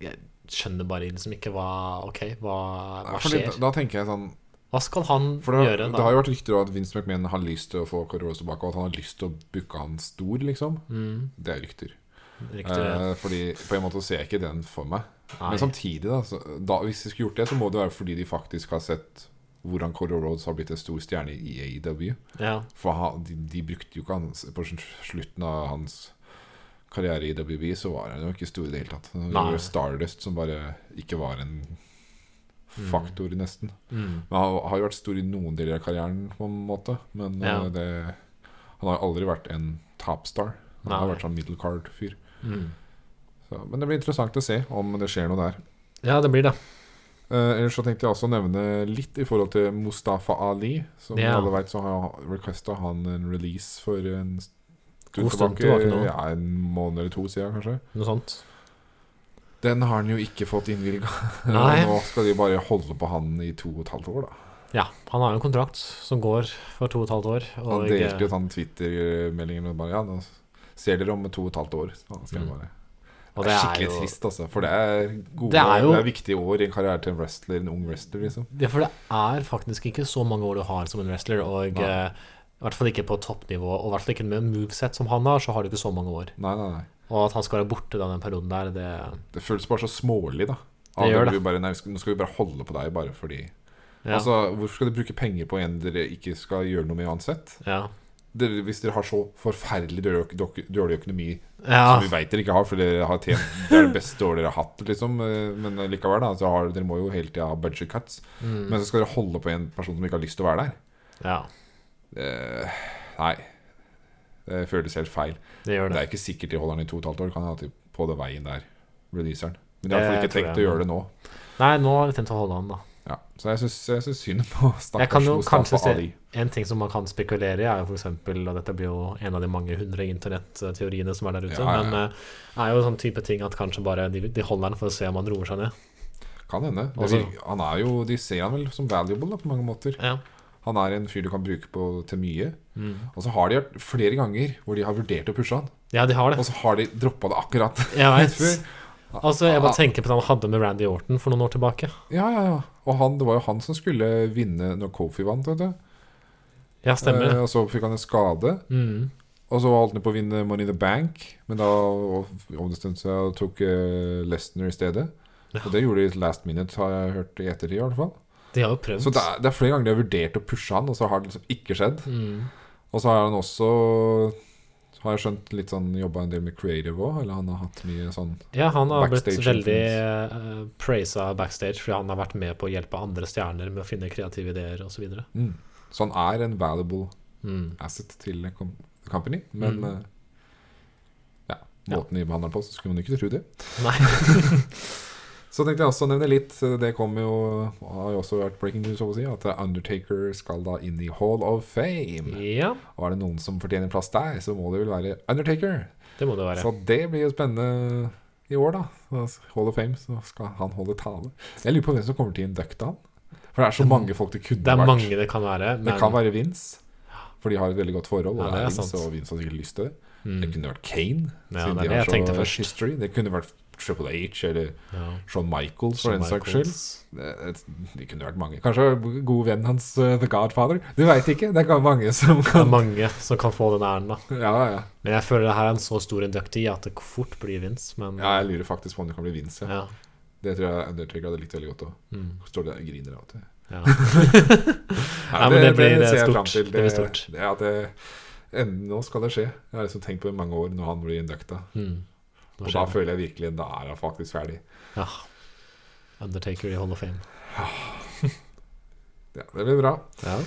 Speaker 2: Jeg skjønner bare liksom ikke hva Ok, hva, hva
Speaker 1: Fordi
Speaker 2: skjer?
Speaker 1: da, da tenker jeg sånn
Speaker 2: Hva skal han
Speaker 1: For det,
Speaker 2: gjøre
Speaker 1: det
Speaker 2: da?
Speaker 1: har jo vært rykter om at Vince McMahon har lyst til å få Cody Rhodes tilbake, og at han har lyst til å booke han stor, liksom.
Speaker 2: Mm,
Speaker 1: Det er rykter.
Speaker 2: riktig.
Speaker 1: Eh, fordi på en måte ser jeg ikke den for meg.
Speaker 2: Nei.
Speaker 1: Men sånn- samtidig, da, så, da hvis de skulle gjort det, så må det være fordi de faktisk har sett hvordan Cody Rhodes har blitt en stor stjerne i E AEW.
Speaker 2: ja.
Speaker 1: For han, de, de brukte jo ikke hans På sl- slutten av hans karriere i WB, så var han jo ikke stor i det hele tatt. Det var
Speaker 2: Nei.
Speaker 1: jo Stardust som bare ikke var en faktor, nesten.
Speaker 2: Mm.
Speaker 1: Men han har jo vært stor i noen deler av karrieren, på en måte. Men
Speaker 2: Ja.
Speaker 1: eh, det, han har aldri vært en topstar. Han har
Speaker 2: Nei.
Speaker 1: vært sånn middle card-fyr.
Speaker 2: Mm.
Speaker 1: Så, men det blir interessant å se om det skjer noe der.
Speaker 2: ja, det blir det.
Speaker 1: Eh, ellers så tenkte jeg også å nevne litt i forhold til Mustafa Ali. Som
Speaker 2: Ja.
Speaker 1: alle vet, så har requesta han en release for en stund
Speaker 2: God stund
Speaker 1: tilbake.
Speaker 2: tilbake nå.
Speaker 1: ja, en måned eller to siden, kanskje.
Speaker 2: Noe sånt.
Speaker 1: Den har han jo ikke fått innvilga. [laughs]
Speaker 2: Nei.
Speaker 1: Nå skal de bare holde på han i to og et halvt år, da.
Speaker 2: Ja, han har jo en kontrakt som går for to og et halvt år. Og
Speaker 1: Han delte jo sånn Twitter-meldingen og bare Ja, nå ser dere om to og et halvt år. Så da skal jeg
Speaker 2: Mm.
Speaker 1: bare
Speaker 2: og
Speaker 1: Det
Speaker 2: det
Speaker 1: er
Speaker 2: er
Speaker 1: skikkelig
Speaker 2: jo
Speaker 1: trist, altså. For det er gode det
Speaker 2: Det er
Speaker 1: er,
Speaker 2: jo-
Speaker 1: viktige år i en karriere til en wrestler, en ung wrestler, liksom.
Speaker 2: Ja, for det er faktisk ikke så mange år du har som en wrestler, og
Speaker 1: Nei.
Speaker 2: eh, i hvert fall ikke på toppnivå, og i hvert fall ikke med moveset som han har, så har du ikke så mange år.
Speaker 1: Nei, nei, nei.
Speaker 2: Og at han skal være borte da den perioden der, det
Speaker 1: Det føles bare så smålig, da.
Speaker 2: Det gjør
Speaker 1: blir Bare, nei, vi skal- nå skal vi bare holde på deg, bare fordi
Speaker 2: Ja.
Speaker 1: Altså, Hvorfor skal dere bruke penger på en dere ikke skal gjøre noe med uansett?
Speaker 2: ja.
Speaker 1: Dere, hvis dere har så forferdelig dårlig, øk- dårlig økonomi
Speaker 2: Ja.
Speaker 1: som vi veit dere ikke har, for dere har tjent Det er det beste året dere har hatt, liksom. eh, Men likevel, da. Så har, dere må jo hele tida ha budget cuts.
Speaker 2: Mm.
Speaker 1: Men så skal dere holde på en person som ikke har lyst til å være der.
Speaker 2: Ja.
Speaker 1: Eh, Nei. Det føles helt feil.
Speaker 2: Det gjør
Speaker 1: Det
Speaker 2: det.
Speaker 1: er ikke sikkert de holder den i to og et halvt år. Kan hende de er på den veien der, releaseren. Men de har i hvert fall ikke
Speaker 2: Det tror
Speaker 1: tenkt å
Speaker 2: jeg.
Speaker 1: gjøre det nå.
Speaker 2: Nei, nå har jeg tenkt å holde an, da.
Speaker 1: Ja. Så jeg syns, jeg syns synd på
Speaker 2: Jeg kan
Speaker 1: stakkars
Speaker 2: jo kanskje
Speaker 1: Mustafa
Speaker 2: se-
Speaker 1: Ali.
Speaker 2: En ting som man kan spekulere i, er jo f.eks. og dette blir jo en av de mange hundre internetteoriene som er der ute,
Speaker 1: Ja, ja, ja.
Speaker 2: men eh, er jo sånn type ting at kanskje bare de, de holder den for å se om han roer seg ned.
Speaker 1: Kan hende. Det
Speaker 2: Altså-
Speaker 1: virker- han er jo, de ser han vel som valuable da, på mange måter.
Speaker 2: Ja.
Speaker 1: Han er en fyr du kan bruke på, til mye.
Speaker 2: Mm.
Speaker 1: Og så har de gjort flere ganger hvor de har vurdert å pushe han,
Speaker 2: ja, de har det.
Speaker 1: og så har de droppa det akkurat.
Speaker 2: [laughs]
Speaker 1: [laughs]
Speaker 2: Jeg
Speaker 1: før.
Speaker 2: veit. Altså,
Speaker 1: Ah.
Speaker 2: jeg bare tenker på det han hadde med Randy Orton for noen år tilbake.
Speaker 1: Ja, ja, ja. Og han, det var jo han som skulle vinne når Kofi vant, vet du.
Speaker 2: Ja, stemmer det.
Speaker 1: Eh, og så fikk han en skade.
Speaker 2: Mm.
Speaker 1: Og så holdt han på å vinne Money in the Bank, men da ombestemte seg og tok eh, Lesnar i stedet. Og det gjorde de i last minute, har jeg hørt i ettertid i hvert fall.
Speaker 2: De har jo prøvd.
Speaker 1: Så det er, det er flere ganger de har vurdert å pushe han, og så har det liksom ikke skjedd.
Speaker 2: Mm.
Speaker 1: Og så har han også, har jeg skjønt, litt sånn jobba en del med creative òg, eller han har hatt mye sånn
Speaker 2: Ja, han har
Speaker 1: Backstage
Speaker 2: blitt veldig uh, praisa backstage fordi han har vært med på å hjelpe andre stjerner med å finne kreative ideer osv.
Speaker 1: mm. Så han er en valuable
Speaker 2: Mm.
Speaker 1: asset til com company, men
Speaker 2: Mm.
Speaker 1: eh, ja, måten de behandler den på, så skulle man jo ikke tro det.
Speaker 2: Nei.
Speaker 1: Så tenkte jeg også å nevne litt, eh, det kom jo, har jo også vært breaking news, så å si, at eh, Undertaker skal da inn i Hall of Fame.
Speaker 2: Ja,
Speaker 1: Og er det noen som fortjener plass der, så må det vel være Undertaker.
Speaker 2: det må det være.
Speaker 1: Så det blir jo spennende i år, da. Så Hall of Fame, så skal han holde tale. Jeg lurer på hvem som kommer til å inducte han. For det er så mange folk det kunne
Speaker 2: Det er
Speaker 1: vært.
Speaker 2: mange det kan være. Men,
Speaker 1: Det kan være Vince, for de har et veldig godt forhold. Og
Speaker 2: Ja,
Speaker 1: det
Speaker 2: det
Speaker 1: er
Speaker 2: er
Speaker 1: Vince,
Speaker 2: sant.
Speaker 1: og Vince har sikkert lyst til det. Det
Speaker 2: mm,
Speaker 1: kunne vært Kane, siden
Speaker 2: Ja, det er
Speaker 1: de
Speaker 2: det
Speaker 1: har
Speaker 2: jeg tenkte
Speaker 1: så
Speaker 2: først.
Speaker 1: history. Det kunne vært Triple H eller
Speaker 2: ja.
Speaker 1: Shawn Michaels, for
Speaker 2: Shawn
Speaker 1: den saks skyld.
Speaker 2: Michaels.
Speaker 1: Det det kunne vært mange. Kanskje god venn hans, eh, The Godfather. Du veit ikke. Det er mange som
Speaker 2: Det er
Speaker 1: kan
Speaker 2: mange som kan få den æren, da.
Speaker 1: Ja, ja.
Speaker 2: Men jeg føler det her er en så stor inductee at det fort blir Vince, men
Speaker 1: ja jeg lurer faktisk på om det kan bli Vince. Ja.
Speaker 2: ja.
Speaker 1: Det tror jeg Undertaker hadde likt veldig godt òg.
Speaker 2: Mm,
Speaker 1: Står der og griner av og til.
Speaker 2: ja.
Speaker 1: [laughs] Nei,
Speaker 2: Ja, men det blir- det er
Speaker 1: ser jeg
Speaker 2: stort.
Speaker 1: fram til.
Speaker 2: Det blir stort.
Speaker 1: Det, ja, det, en- nå skal det skje. Jeg har liksom tenkt på det i mange år når han blir inducta.
Speaker 2: Mm. Nå
Speaker 1: Og da
Speaker 2: skjer det.
Speaker 1: føler jeg virkelig da er han faktisk ferdig.
Speaker 2: Ja. Undertaker i Hall of Fame.
Speaker 1: Ja, det blir bra.
Speaker 2: Ja.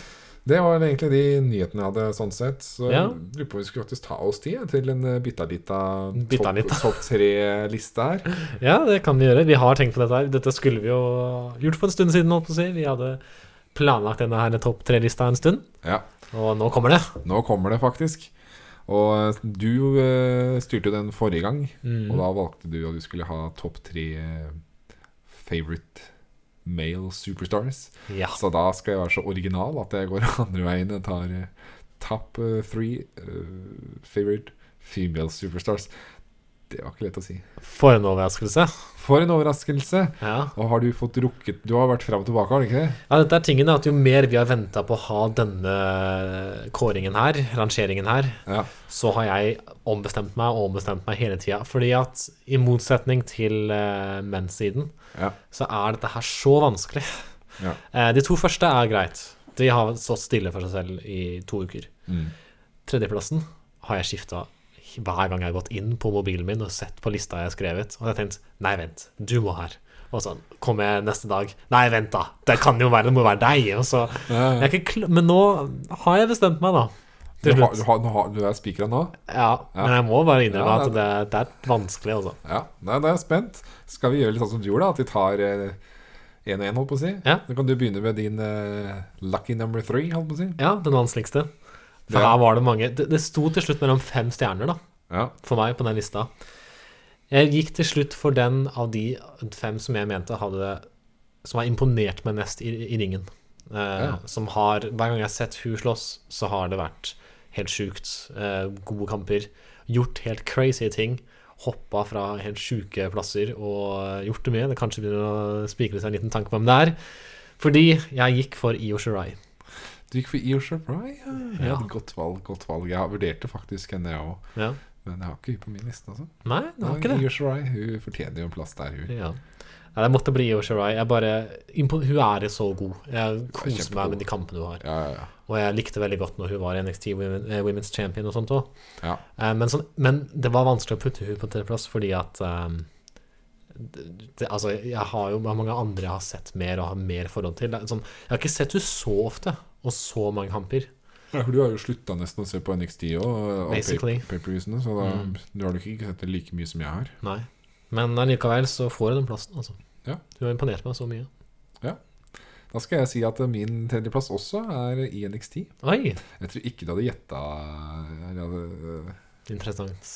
Speaker 1: Det var egentlig de nyhetene jeg hadde sånn sett. Så jeg
Speaker 2: Ja.
Speaker 1: lurer på om vi skulle faktisk ta oss tid til en eh, bitte lita
Speaker 2: Bitte
Speaker 1: topp top tre-liste her.
Speaker 2: Ja, det kan vi gjøre. Vi har tenkt på dette her. Dette skulle vi jo gjort for en stund siden, holdt på å si. Vi hadde planlagt denne her topp tre-lista en stund,
Speaker 1: Ja,
Speaker 2: og nå kommer det.
Speaker 1: nå kommer det faktisk. Og eh, du eh, styrte jo den forrige gang, og
Speaker 2: Mm.
Speaker 1: da valgte du at du skulle ha topp tre eh, favorite male superstars.
Speaker 2: Ja.
Speaker 1: Så da skal jeg være så original at jeg går [laughs] andre veien og tar eh, top eh, three eh, favorite female superstars. Det var ikke lett å si.
Speaker 2: For en overraskelse.
Speaker 1: For en overraskelse!
Speaker 2: Ja.
Speaker 1: Og har du fått rukket Du har vært fram og tilbake, har du ikke det?
Speaker 2: ja, dette er tingen da, at jo mer vi har venta på å ha denne kåringen her, rangeringen her,
Speaker 1: Ja.
Speaker 2: så har jeg ombestemt meg og ombestemt meg hele tida. Fordi at i motsetning til uh, menssiden,
Speaker 1: Ja.
Speaker 2: så er dette her så vanskelig.
Speaker 1: Ja.
Speaker 2: Eh, de to første er greit. De har stått stille for seg selv i to uker.
Speaker 1: Mm.
Speaker 2: Tredjeplassen har jeg skifta hver gang jeg har gått inn på mobilen min og sett på lista jeg har skrevet, og jeg har tenkt nei, vent, du må her. Og sånn kommer jeg neste dag. Nei, vent, da. Det kan jo være, det må være deg. Og så, jeg er ikke kl Men nå har jeg bestemt meg, da.
Speaker 1: Eh, Du,
Speaker 2: Til
Speaker 1: har,
Speaker 2: slutt.
Speaker 1: du, har, nå har, du er spikra nå?
Speaker 2: Ja, men jeg må bare innrømme
Speaker 1: Ja,
Speaker 2: at det, det er vanskelig, altså.
Speaker 1: Ja. Nei, da er jeg spent. Skal vi gjøre litt sånn som du gjorde, da? At vi tar én og én, holdt på å si?
Speaker 2: Ja.
Speaker 1: Da kan du begynne med din eh, lucky number three, holdt på å si.
Speaker 2: Ja, den vanskeligste. For
Speaker 1: Ja.
Speaker 2: her var det mange det, det sto til slutt mellom fem stjerner, da,
Speaker 1: Ja.
Speaker 2: for meg, på den lista. Jeg gikk til slutt for den av de fem som jeg mente hadde Som har imponert meg mest i, i ringen. Eh,
Speaker 1: Ja.
Speaker 2: Som har Hver gang jeg har sett hun slåss, så har det vært helt sjukt. Eh, gode kamper. Gjort helt crazy ting. Hoppa fra helt sjuke plasser og gjort det mye. Det kanskje begynner å spikre seg en liten tanke på hvem det er. Fordi jeg gikk for Io Shirai.
Speaker 1: Du gikk for Eosha Bry? Ja.
Speaker 2: Ja.
Speaker 1: Godt valg, godt valg. Jeg vurderte faktisk henne, jeg òg.
Speaker 2: Ja.
Speaker 1: Men jeg har ikke hun på min liste, altså.
Speaker 2: Nei, det var ikke det.
Speaker 1: Nei, You're right. Hun fortjener jo en plass der, hun.
Speaker 2: Ja. Nei, det måtte bli Io Shirai. Jeg bare, impo- hun er så god. Jeg koser
Speaker 1: kjempegod.
Speaker 2: meg med de kampene hun har.
Speaker 1: Ja, ja, ja.
Speaker 2: Og jeg likte veldig godt når hun var NXT Women, eh, Women's Champion og sånt òg.
Speaker 1: Ja.
Speaker 2: Men, sånn, men det var vanskelig å putte hun på tredjeplass fordi at eh, det, det, altså, jeg har jo det er mange andre jeg har sett mer og har mer forhold til. Det er Sånn, jeg har ikke sett hun så ofte, og så mange kamper.
Speaker 1: Ja, for du har jo slutta nesten å se på NXT og, og
Speaker 2: Basically.
Speaker 1: pay- pay-per-viewsene, så da,
Speaker 2: Mm.
Speaker 1: du har nok ikke sett det like mye som jeg har.
Speaker 2: Nei. Men allikevel så får jeg den plassen, altså.
Speaker 1: Ja.
Speaker 2: Du har imponert meg så mye.
Speaker 1: Da skal jeg si at eh, min tredjeplass også er i NXT.
Speaker 2: Oi!
Speaker 1: Jeg tror ikke du hadde gjetta eller hadde- [laughs]
Speaker 2: Interessant.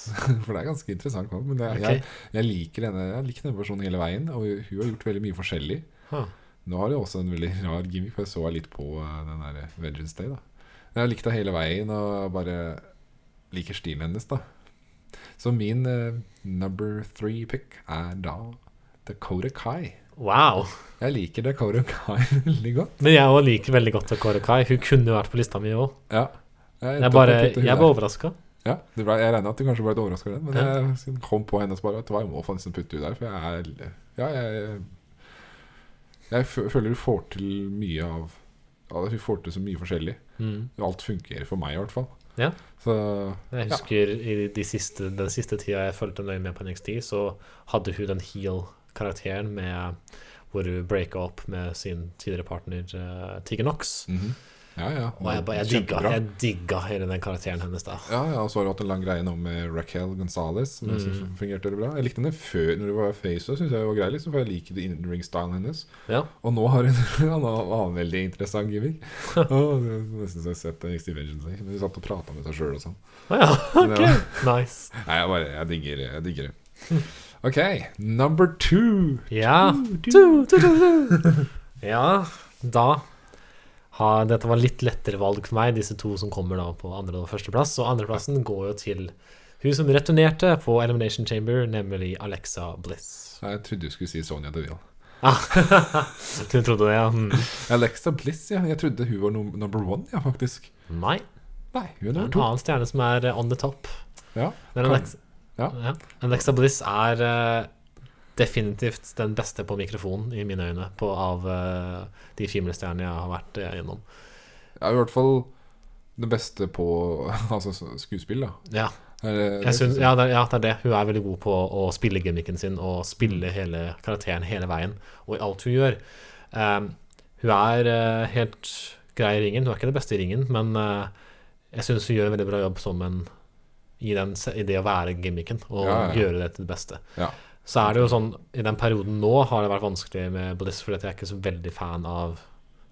Speaker 1: For det er ganske interessant. nå, Men det,
Speaker 2: Ok.
Speaker 1: jeg, jeg liker denne Jeg liker denne personen hele veien, og hun har gjort veldig mye forskjellig.
Speaker 2: Ha.
Speaker 1: Nå har hun også en veldig [laughs] rar gimmick, for jeg så litt på eh, den der Vengeance Day. da Men Jeg har likt henne hele veien, og bare liker stilen hennes, da. Så min eh, number three pick er da Dakota Kai.
Speaker 2: Wow.
Speaker 1: Jeg liker Dakota [laughs] Kai veldig godt.
Speaker 2: Men jeg også liker veldig godt Kåre Kai. Hun kunne jo vært på lista mi òg.
Speaker 1: Ja jeg
Speaker 2: Jeg
Speaker 1: endte opp
Speaker 2: bare,
Speaker 1: med å putte hun
Speaker 2: jeg
Speaker 1: der.
Speaker 2: ble overraska.
Speaker 1: Ja, det ble, Jeg regner at du kanskje ble litt overraska over den, men
Speaker 2: Ja.
Speaker 1: jeg kom på henne og bare at jeg må få nesten putte henne der. For jeg er Ja, jeg Jeg fø- føler hun får til mye av ja, Hun får til så mye forskjellig.
Speaker 2: Mm.
Speaker 1: Alt funker for meg, i hvert fall.
Speaker 2: Ja.
Speaker 1: Så
Speaker 2: Jeg husker i de siste, den siste tida jeg fulgte nøye med på NXT, så hadde hun den heel-karakteren med hvor hun breaka opp med sin tidligere partner eh, Tigger Knox.
Speaker 1: mhm. Ja, ja.
Speaker 2: Og jeg, bare- jeg, digga,
Speaker 1: Kjempebra.
Speaker 2: jeg digga hele den karakteren hennes da.
Speaker 1: Ja, ja, og så har du hatt en lang greie nå med Raquel Gonzales. Som jeg synes
Speaker 2: Mhm.
Speaker 1: fungerte veldig bra Jeg likte henne før når hun var face, og synes jeg var grei, liksom, for jeg liker in-ring-stylen hennes.
Speaker 2: Ja.
Speaker 1: Og nå har hun [laughs] han har en annen veldig interessant
Speaker 2: [laughs]
Speaker 1: gimmick. Åh, det er Nesten så jeg har sett den i Steve Vengeance. Day. Hun satt og prata med seg sjøl og sånn.
Speaker 2: Å ja,
Speaker 1: Men
Speaker 2: [laughs]
Speaker 1: det var-
Speaker 2: nice.
Speaker 1: [laughs] Nei, jeg bare Jeg digger, jeg digger det. OK, number two.
Speaker 2: Ja.
Speaker 1: two. [laughs]
Speaker 2: ja, da har, Dette var litt lettere valg for meg, disse to som kommer da på andre- og førsteplass. Og andreplassen går jo til hun som returnerte på Elimination Chamber, nemlig Alexa Bliss.
Speaker 1: Nei, Jeg trodde du skulle si Sonja Deville.
Speaker 2: Ah, [laughs] du trodde det, ja? Hmm.
Speaker 1: Alexa Bliss, ja. Jeg trodde hun var num number one, ja, faktisk.
Speaker 2: Nei.
Speaker 1: Nei, hun er
Speaker 2: Det er
Speaker 1: nummer
Speaker 2: en
Speaker 1: to.
Speaker 2: annen stjerne som er eh, on the top.
Speaker 1: Ja,
Speaker 2: Men
Speaker 1: Kan-
Speaker 2: Alexa,
Speaker 1: ja.
Speaker 2: ja. Alexa Bliss er eh, definitivt den beste på mikrofon, i mine øyne, på, av eh, de filmstjernene jeg har vært eh, gjennom.
Speaker 1: ja, i hvert fall det beste på [laughs] altså, s- skuespill, da.
Speaker 2: Ja,
Speaker 1: Er det-
Speaker 2: jeg syns-
Speaker 1: det-
Speaker 2: ja, det, er- ja, det er det. Hun er veldig god på å spille gimmicken sin og spille hele karakteren hele veien, og i alt hun gjør. Ehm, hun er eh, helt grei i ringen. Hun er ikke det beste i ringen, men eh, jeg syns hun gjør en veldig bra jobb som en i, den, se- i det å være gimmicken og
Speaker 1: Ja, ja, ja.
Speaker 2: gjøre det til det beste.
Speaker 1: Ja.
Speaker 2: Så er det jo sånn I den perioden nå har det vært vanskelig med Bliss, fordi at jeg er ikke så veldig fan av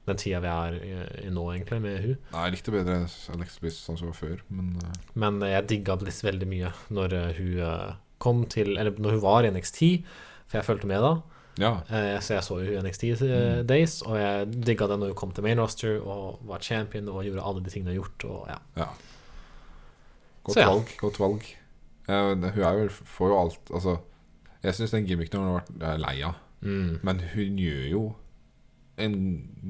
Speaker 2: den tida vi er i, i nå, egentlig, med hun.
Speaker 1: Nei, jeg likte bedre Alexa Bliss sånn som hun var før, men eh,
Speaker 2: Men eh, jeg digga Bliss veldig mye når eh, hun eh, kom til Eller når hun var i NXT, for jeg fulgte med da.
Speaker 1: ja.
Speaker 2: Eh, Så jeg så jo hun i NXT eh,
Speaker 1: Mm.
Speaker 2: Days, og jeg digga det når hun kom til main roster og var champion og gjorde alle de tingene hun har gjort. Og ja.
Speaker 1: Ja. Godt
Speaker 2: Så ja.
Speaker 1: valg. Godt valg. Eh, men hun er vel, får jo alt Altså, jeg syns den gimmicken hun har vært jeg er lei av, men hun gjør jo en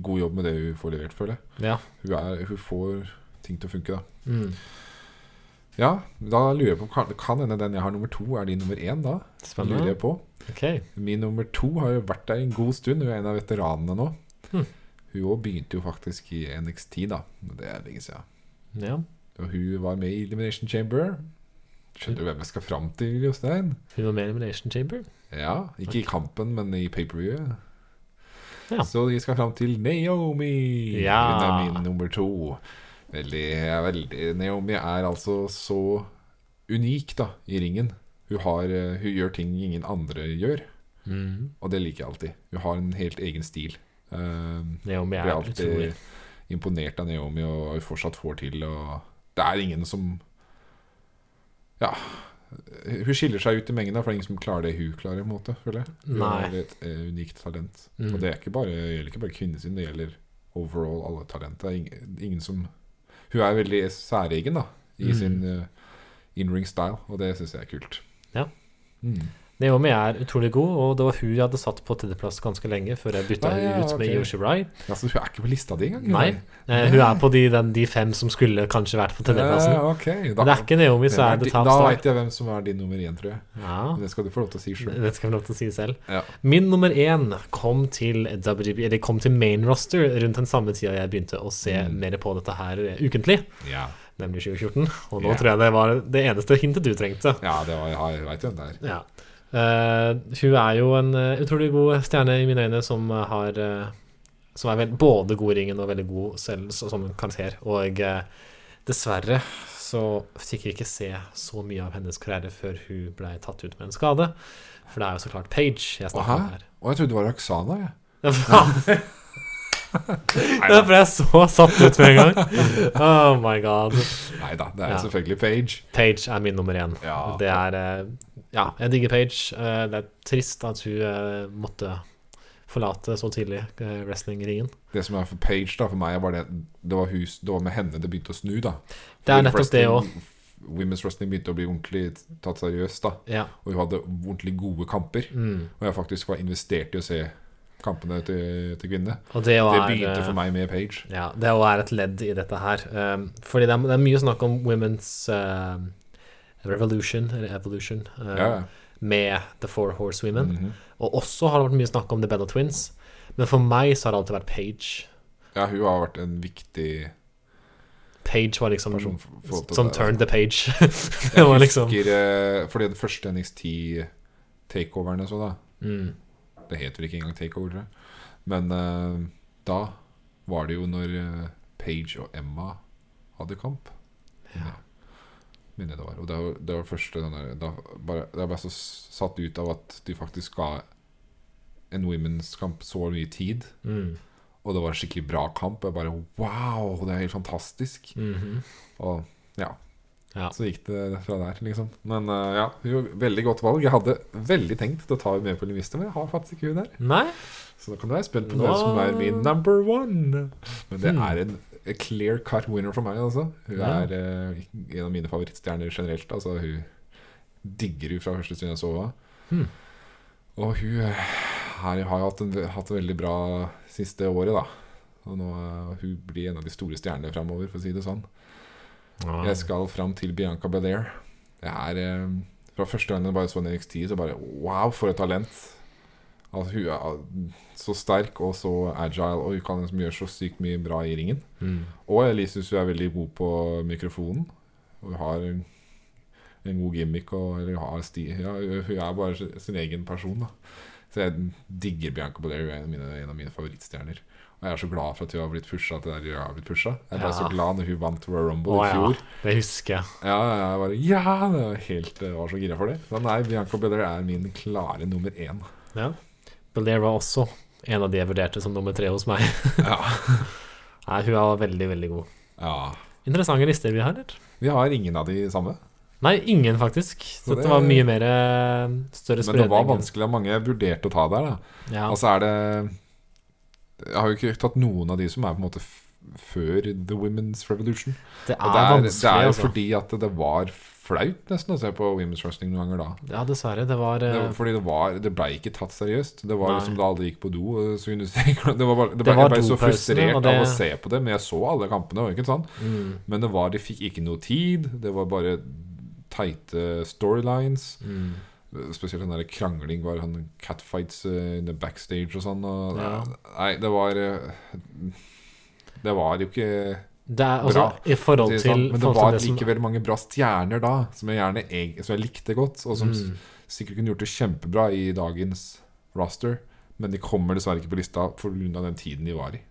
Speaker 1: god jobb med det hun får levert, føler jeg.
Speaker 2: ja.
Speaker 1: Hun, er, hun får ting til å funke, da.
Speaker 2: Mm.
Speaker 1: Ja, da lurer jeg på Kan, kan hende den jeg har nummer to, er din nummer én, da? Lurer
Speaker 2: Spennende.
Speaker 1: jeg på.
Speaker 2: Ok.
Speaker 1: Min nummer to har jo vært der en god stund. Hun er en av veteranene nå.
Speaker 2: Hmm.
Speaker 1: Hun òg begynte jo faktisk i NXT, da. Det er lenge siden.
Speaker 2: Ja.
Speaker 1: Og hun var med i Elimination Chamber. Skjønner du hvem jeg skal fram til, Jostein?
Speaker 2: Hun var med i Elimination Chamber.
Speaker 1: Ja, ikke i kampen, men i paperviewet.
Speaker 2: Ja.
Speaker 1: Så vi skal fram til Naomi.
Speaker 2: Ja.
Speaker 1: Hun er min nummer to. Veldig, veldig Naomi er altså så unik, da, i ringen. Hun, har, eh, hun gjør ting ingen andre gjør, og det liker jeg alltid. Hun har en helt egen stil. Um,
Speaker 2: Naomi
Speaker 1: jeg
Speaker 2: er
Speaker 1: blir
Speaker 2: utrolig.
Speaker 1: alltid imponert av Naomi og hva hun fortsatt får til. Og det er ingen som Ja. Hun skiller seg ut i mengden, for det er ingen som klarer det hun klarer. på en måte, føler jeg. Hun
Speaker 2: Nei.
Speaker 1: har et eh, unikt talent.
Speaker 2: Mm.
Speaker 1: Og det, er ikke bare, det gjelder ikke bare kvinnesyn, det gjelder overall alle talenter. Det er Ingen, ingen som Hun er veldig særegen da i
Speaker 2: Mm.
Speaker 1: sin eh, in-ring style, og det syns jeg er kult.
Speaker 2: Ja.
Speaker 1: Mm.
Speaker 2: Naomi er utrolig god, og det var hun jeg hadde satt på tredjeplass ganske lenge før jeg bytta
Speaker 1: Ah, ja,
Speaker 2: henne ut med
Speaker 1: ok.
Speaker 2: Yoshi Rai.
Speaker 1: Altså, hun er ikke på lista di engang? hun
Speaker 2: Nei.
Speaker 1: er-
Speaker 2: Eh, hun er på de, den, de fem som skulle kanskje vært på tredjeplassen.
Speaker 1: Eh, ok,
Speaker 2: Men det er ikke Naomi, så
Speaker 1: Hvem
Speaker 2: er det
Speaker 1: di- Da
Speaker 2: Tapstar.
Speaker 1: veit jeg hvem som er din nummer én, tror jeg.
Speaker 2: Ja,
Speaker 1: Men Det skal du få lov til å si sjøl.
Speaker 2: det skal jeg få lov til å si selv.
Speaker 1: Ja.
Speaker 2: Min nummer én kom til, WGP, eller kom til main roster rundt den samme tida jeg begynte å se
Speaker 1: Mm.
Speaker 2: mer på dette her eh, ukentlig,
Speaker 1: Ja.
Speaker 2: nemlig 2014. Og nå
Speaker 1: Ja.
Speaker 2: tror jeg det var det eneste hintet du trengte.
Speaker 1: det var, ja, jeg veit hvem det er.
Speaker 2: Ja. Eh, hun er jo en eh, utrolig god stjerne i mine øyne, som eh, har eh, Som er vel, både god i ringen og veldig god selv så- som karakter. Og eh, dessverre så fikk vi ikke se så mye av hennes karriere før hun ble tatt ut med en skade. For det er jo så klart Page jeg snakker om
Speaker 1: Aha.
Speaker 2: her. [laughs]
Speaker 1: Og jeg trodde det var Oksana, jeg.
Speaker 2: Det er faen- det er fordi jeg så satt ut med en gang. Oh my god.
Speaker 1: Nei da, det er
Speaker 2: Ja.
Speaker 1: selvfølgelig Page.
Speaker 2: Page er min nummer én.
Speaker 1: Ja.
Speaker 2: Det er eh, Ja, jeg digger Page. Eh, Det er trist at hun eh, måtte forlate så tidlig eh, wrestlingringen.
Speaker 1: Det som er for Page, da, for meg, var det det var, hus, det var med henne det begynte å snu, da.
Speaker 2: Det er nettopp det òg.
Speaker 1: Wrestling- Women's wrestling begynte å bli ordentlig tatt seriøst, da.
Speaker 2: Ja.
Speaker 1: Og hun hadde ordentlig gode kamper.
Speaker 2: Mm.
Speaker 1: Og jeg faktisk var investert i å se kampene til, til kvinnene.
Speaker 2: Og det,
Speaker 1: Det
Speaker 2: var,
Speaker 1: begynte for meg med Page.
Speaker 2: Ja, det også er et ledd i dette her. Um, fordi det er, det er mye snakk om women's eh, revolution, eller evolution, eh,
Speaker 1: Ja, ja.
Speaker 2: med The Four Horse Women.
Speaker 1: Mhm.
Speaker 2: Og også har det vært mye snakk om The Bella Twins. Men for meg så har det alltid vært Page.
Speaker 1: ja, hun har vært en viktig
Speaker 2: Page var liksom
Speaker 1: person for, for for-
Speaker 2: Som [laughs] turned the page. det [laughs]
Speaker 1: Jeg husker
Speaker 2: var liksom
Speaker 1: eh, Fordi det første NX10-takeoveren jeg så, da
Speaker 2: mm,
Speaker 1: Det heter vel ikke engang takeover, tror jeg. Men eh, da var det jo når eh, Paige og Emma hadde kamp.
Speaker 2: ja.
Speaker 1: Minner jeg det var. Og det var det var første den der, da bare, Jeg ble så s- satt ut av at de faktisk ga en women's kamp så mye tid.
Speaker 2: mm,
Speaker 1: Og det var en skikkelig bra kamp. Og jeg bare Wow, det er helt fantastisk.
Speaker 2: mhm.
Speaker 1: Og ja.
Speaker 2: Ja.
Speaker 1: Så gikk det fra der, liksom. Men eh, ja, jo, veldig godt valg. Jeg hadde veldig tenkt å ta henne med på lista, men jeg har faktisk ikke hun der.
Speaker 2: Nei?
Speaker 1: Så da kan du være spent på
Speaker 2: Nå-
Speaker 1: hvem som er min number one. Men det
Speaker 2: Hmm.
Speaker 1: er en a clear cut winner for meg, altså. Hun
Speaker 2: Ja.
Speaker 1: er eh, en av mine favorittstjerner generelt. Altså, hun digger hun fra første stund jeg så henne.
Speaker 2: Hmm.
Speaker 1: Og hun eh, her har jo hatt, en, hatt det veldig bra siste året, da. Og nå eh, hun blir en av de store stjernene framover, for å si det sånn. Jeg skal fram til Bianca Belair. Det er eh, Fra første gang jeg bare så NXT, så bare Wow, for et talent! Altså, hun er så sterk og så agile, og hun kan liksom gjøre så sykt mye bra i ringen.
Speaker 2: Mm.
Speaker 1: Og jeg syns hun er veldig god på mikrofonen. Og hun har en, en god gimmick og eller hun har sti ja, Hun er bare sin- sin egen person, da. Så jeg digger Bianca Belair, hun er en av mine, en av mine favorittstjerner. Og jeg er så glad for at hun har blitt pusha til der hun har blitt pusha. Jeg ble så
Speaker 2: Ja.
Speaker 1: glad når hun vant Royal Rumble
Speaker 2: Å,
Speaker 1: i
Speaker 2: ja.
Speaker 1: fjor.
Speaker 2: Det husker jeg.
Speaker 1: Ja, ja, jeg bare Ja! Det var helt, jeg var så gira for det. Så nei, Bianca Belair er min klare nummer én.
Speaker 2: Ja. Belair var også en av de jeg vurderte som nummer tre hos meg.
Speaker 1: Ja.
Speaker 2: [laughs] Nei, hun var veldig, veldig god.
Speaker 1: ja.
Speaker 2: Interessante lister vi har, eller?
Speaker 1: Vi har ingen av de samme.
Speaker 2: Nei, ingen, faktisk. Så
Speaker 1: det-
Speaker 2: det var mye mer eh, større
Speaker 1: Men det
Speaker 2: spredning.
Speaker 1: var vanskelig. Mange vurderte å ta der. da
Speaker 2: Ja.
Speaker 1: Altså er det Jeg har jo ikke tatt noen av de som er på en måte f før The Women's Revolution.
Speaker 2: det
Speaker 1: Og
Speaker 2: er
Speaker 1: det er,
Speaker 2: vanskelig,
Speaker 1: det er jo
Speaker 2: altså.
Speaker 1: fordi at det var flaut nesten å se på Women's Wrestling noen ganger da.
Speaker 2: Ja, dessverre. Det var
Speaker 1: Det
Speaker 2: eh,
Speaker 1: var, fordi det, var, det ble ikke tatt seriøst. Det var
Speaker 2: Nei.
Speaker 1: liksom da alle gikk på do. og Så kunne du se, [laughs] det var bare, det ble,
Speaker 2: var
Speaker 1: jeg ble så
Speaker 2: dopausene,
Speaker 1: frustrert
Speaker 2: og det-
Speaker 1: av å se på det, men jeg så alle kampene. Og ikke sånn sant?
Speaker 2: mm,
Speaker 1: Men det var, de fikk ikke noe tid. Det var bare teite storylines.
Speaker 2: mm.
Speaker 1: Spesielt den der krangling var han catfights eh, in the backstage og sånn. Og,
Speaker 2: Ja.
Speaker 1: Nei, det var eh, Det var jo ikke
Speaker 2: Det er også
Speaker 1: Bra.
Speaker 2: i forhold
Speaker 1: det er
Speaker 2: til
Speaker 1: sant, Men det
Speaker 2: forhold til
Speaker 1: var
Speaker 2: det som-
Speaker 1: likevel mange bra stjerner da, som jeg gjerne eg- som jeg likte godt, og som s-
Speaker 2: Mm.
Speaker 1: sikkert kunne gjort det kjempebra i dagens roster. Men de kommer dessverre ikke på lista pga. den tiden de var i.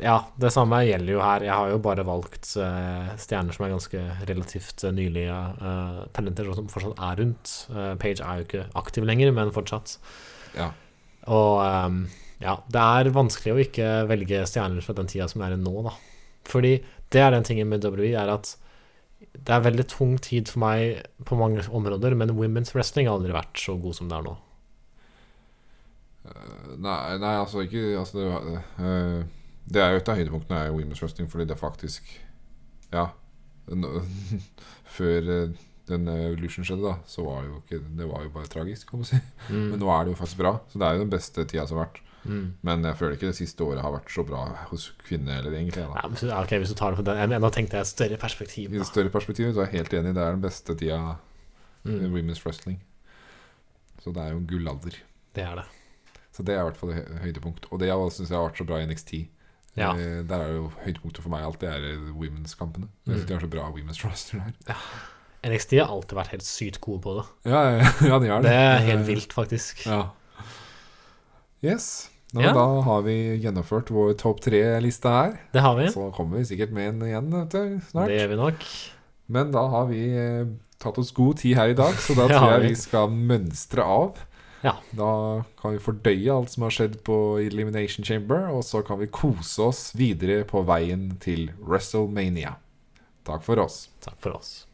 Speaker 2: Ja, det samme gjelder jo her. Jeg har jo bare valgt eh, stjerner som er ganske relativt eh, nylige eh, talenter, og som fortsatt er rundt. Eh, Page er jo ikke aktiv lenger, men fortsatt.
Speaker 1: Ja.
Speaker 2: Og ehm, ja, det er vanskelig å ikke velge stjerner fra den tida som er i nå, da. Fordi det er den tingen med WWE, er at det er veldig tung tid for meg på mange områder, men women's wrestling har aldri vært så god som det er nå.
Speaker 1: Eh, Nei, nei altså ikke altså, det, eh, det er jo et av høydepunktene er jo Women's Wrestling, fordi det er faktisk Ja. nå- [laughs] før eh, den eh, Evolution skjedde, da, så var det jo ikke Det var jo bare tragisk, kan man si. Men
Speaker 2: Mm.
Speaker 1: nå er det jo faktisk bra. Så det er jo den beste tida som har vært.
Speaker 2: Mm.
Speaker 1: Men jeg føler ikke det siste året har vært så bra hos kvinner eller egentlig. Da.
Speaker 2: Ja, men så- ja, ok, hvis du tar det på den jeg mener, Nå tenkte jeg et større perspektiv.
Speaker 1: I
Speaker 2: Da.
Speaker 1: det større perspektivet så er jeg helt enig. Det er den beste tida i
Speaker 2: Mm,
Speaker 1: Women's Wrestling. Så det er jo en gullalder.
Speaker 2: det er det.
Speaker 1: Så det er i hvert fall hø- høydepunkt. Og det syns jeg har vært så bra i NXT.
Speaker 2: Ja.
Speaker 1: Eh, Der er jo høydepunktet for meg alltid er eh, women's-kampene. Jeg synes
Speaker 2: Mm.
Speaker 1: de har så bra women's [laughs] roster der.
Speaker 2: NXT har alltid vært helt sykt gode på det.
Speaker 1: [laughs] Ja, ja, ja de har det.
Speaker 2: Det er helt vilt, faktisk.
Speaker 1: Ja. Yes. Nå,
Speaker 2: Ja.
Speaker 1: Da har vi gjennomført vår topp tre-liste her.
Speaker 2: Det har vi.
Speaker 1: Så kommer vi sikkert med en igjen vet du, snart.
Speaker 2: Det gjør vi nok.
Speaker 1: Men da har vi eh, tatt oss god tid her i dag, så da
Speaker 2: Det
Speaker 1: tror
Speaker 2: har
Speaker 1: jeg
Speaker 2: vi.
Speaker 1: vi skal mønstre av.
Speaker 2: Ja.
Speaker 1: Da kan vi fordøye alt som har skjedd på Elimination Chamber, og så kan vi kose oss videre på veien til WrestleMania. Takk for oss.
Speaker 2: Takk for oss.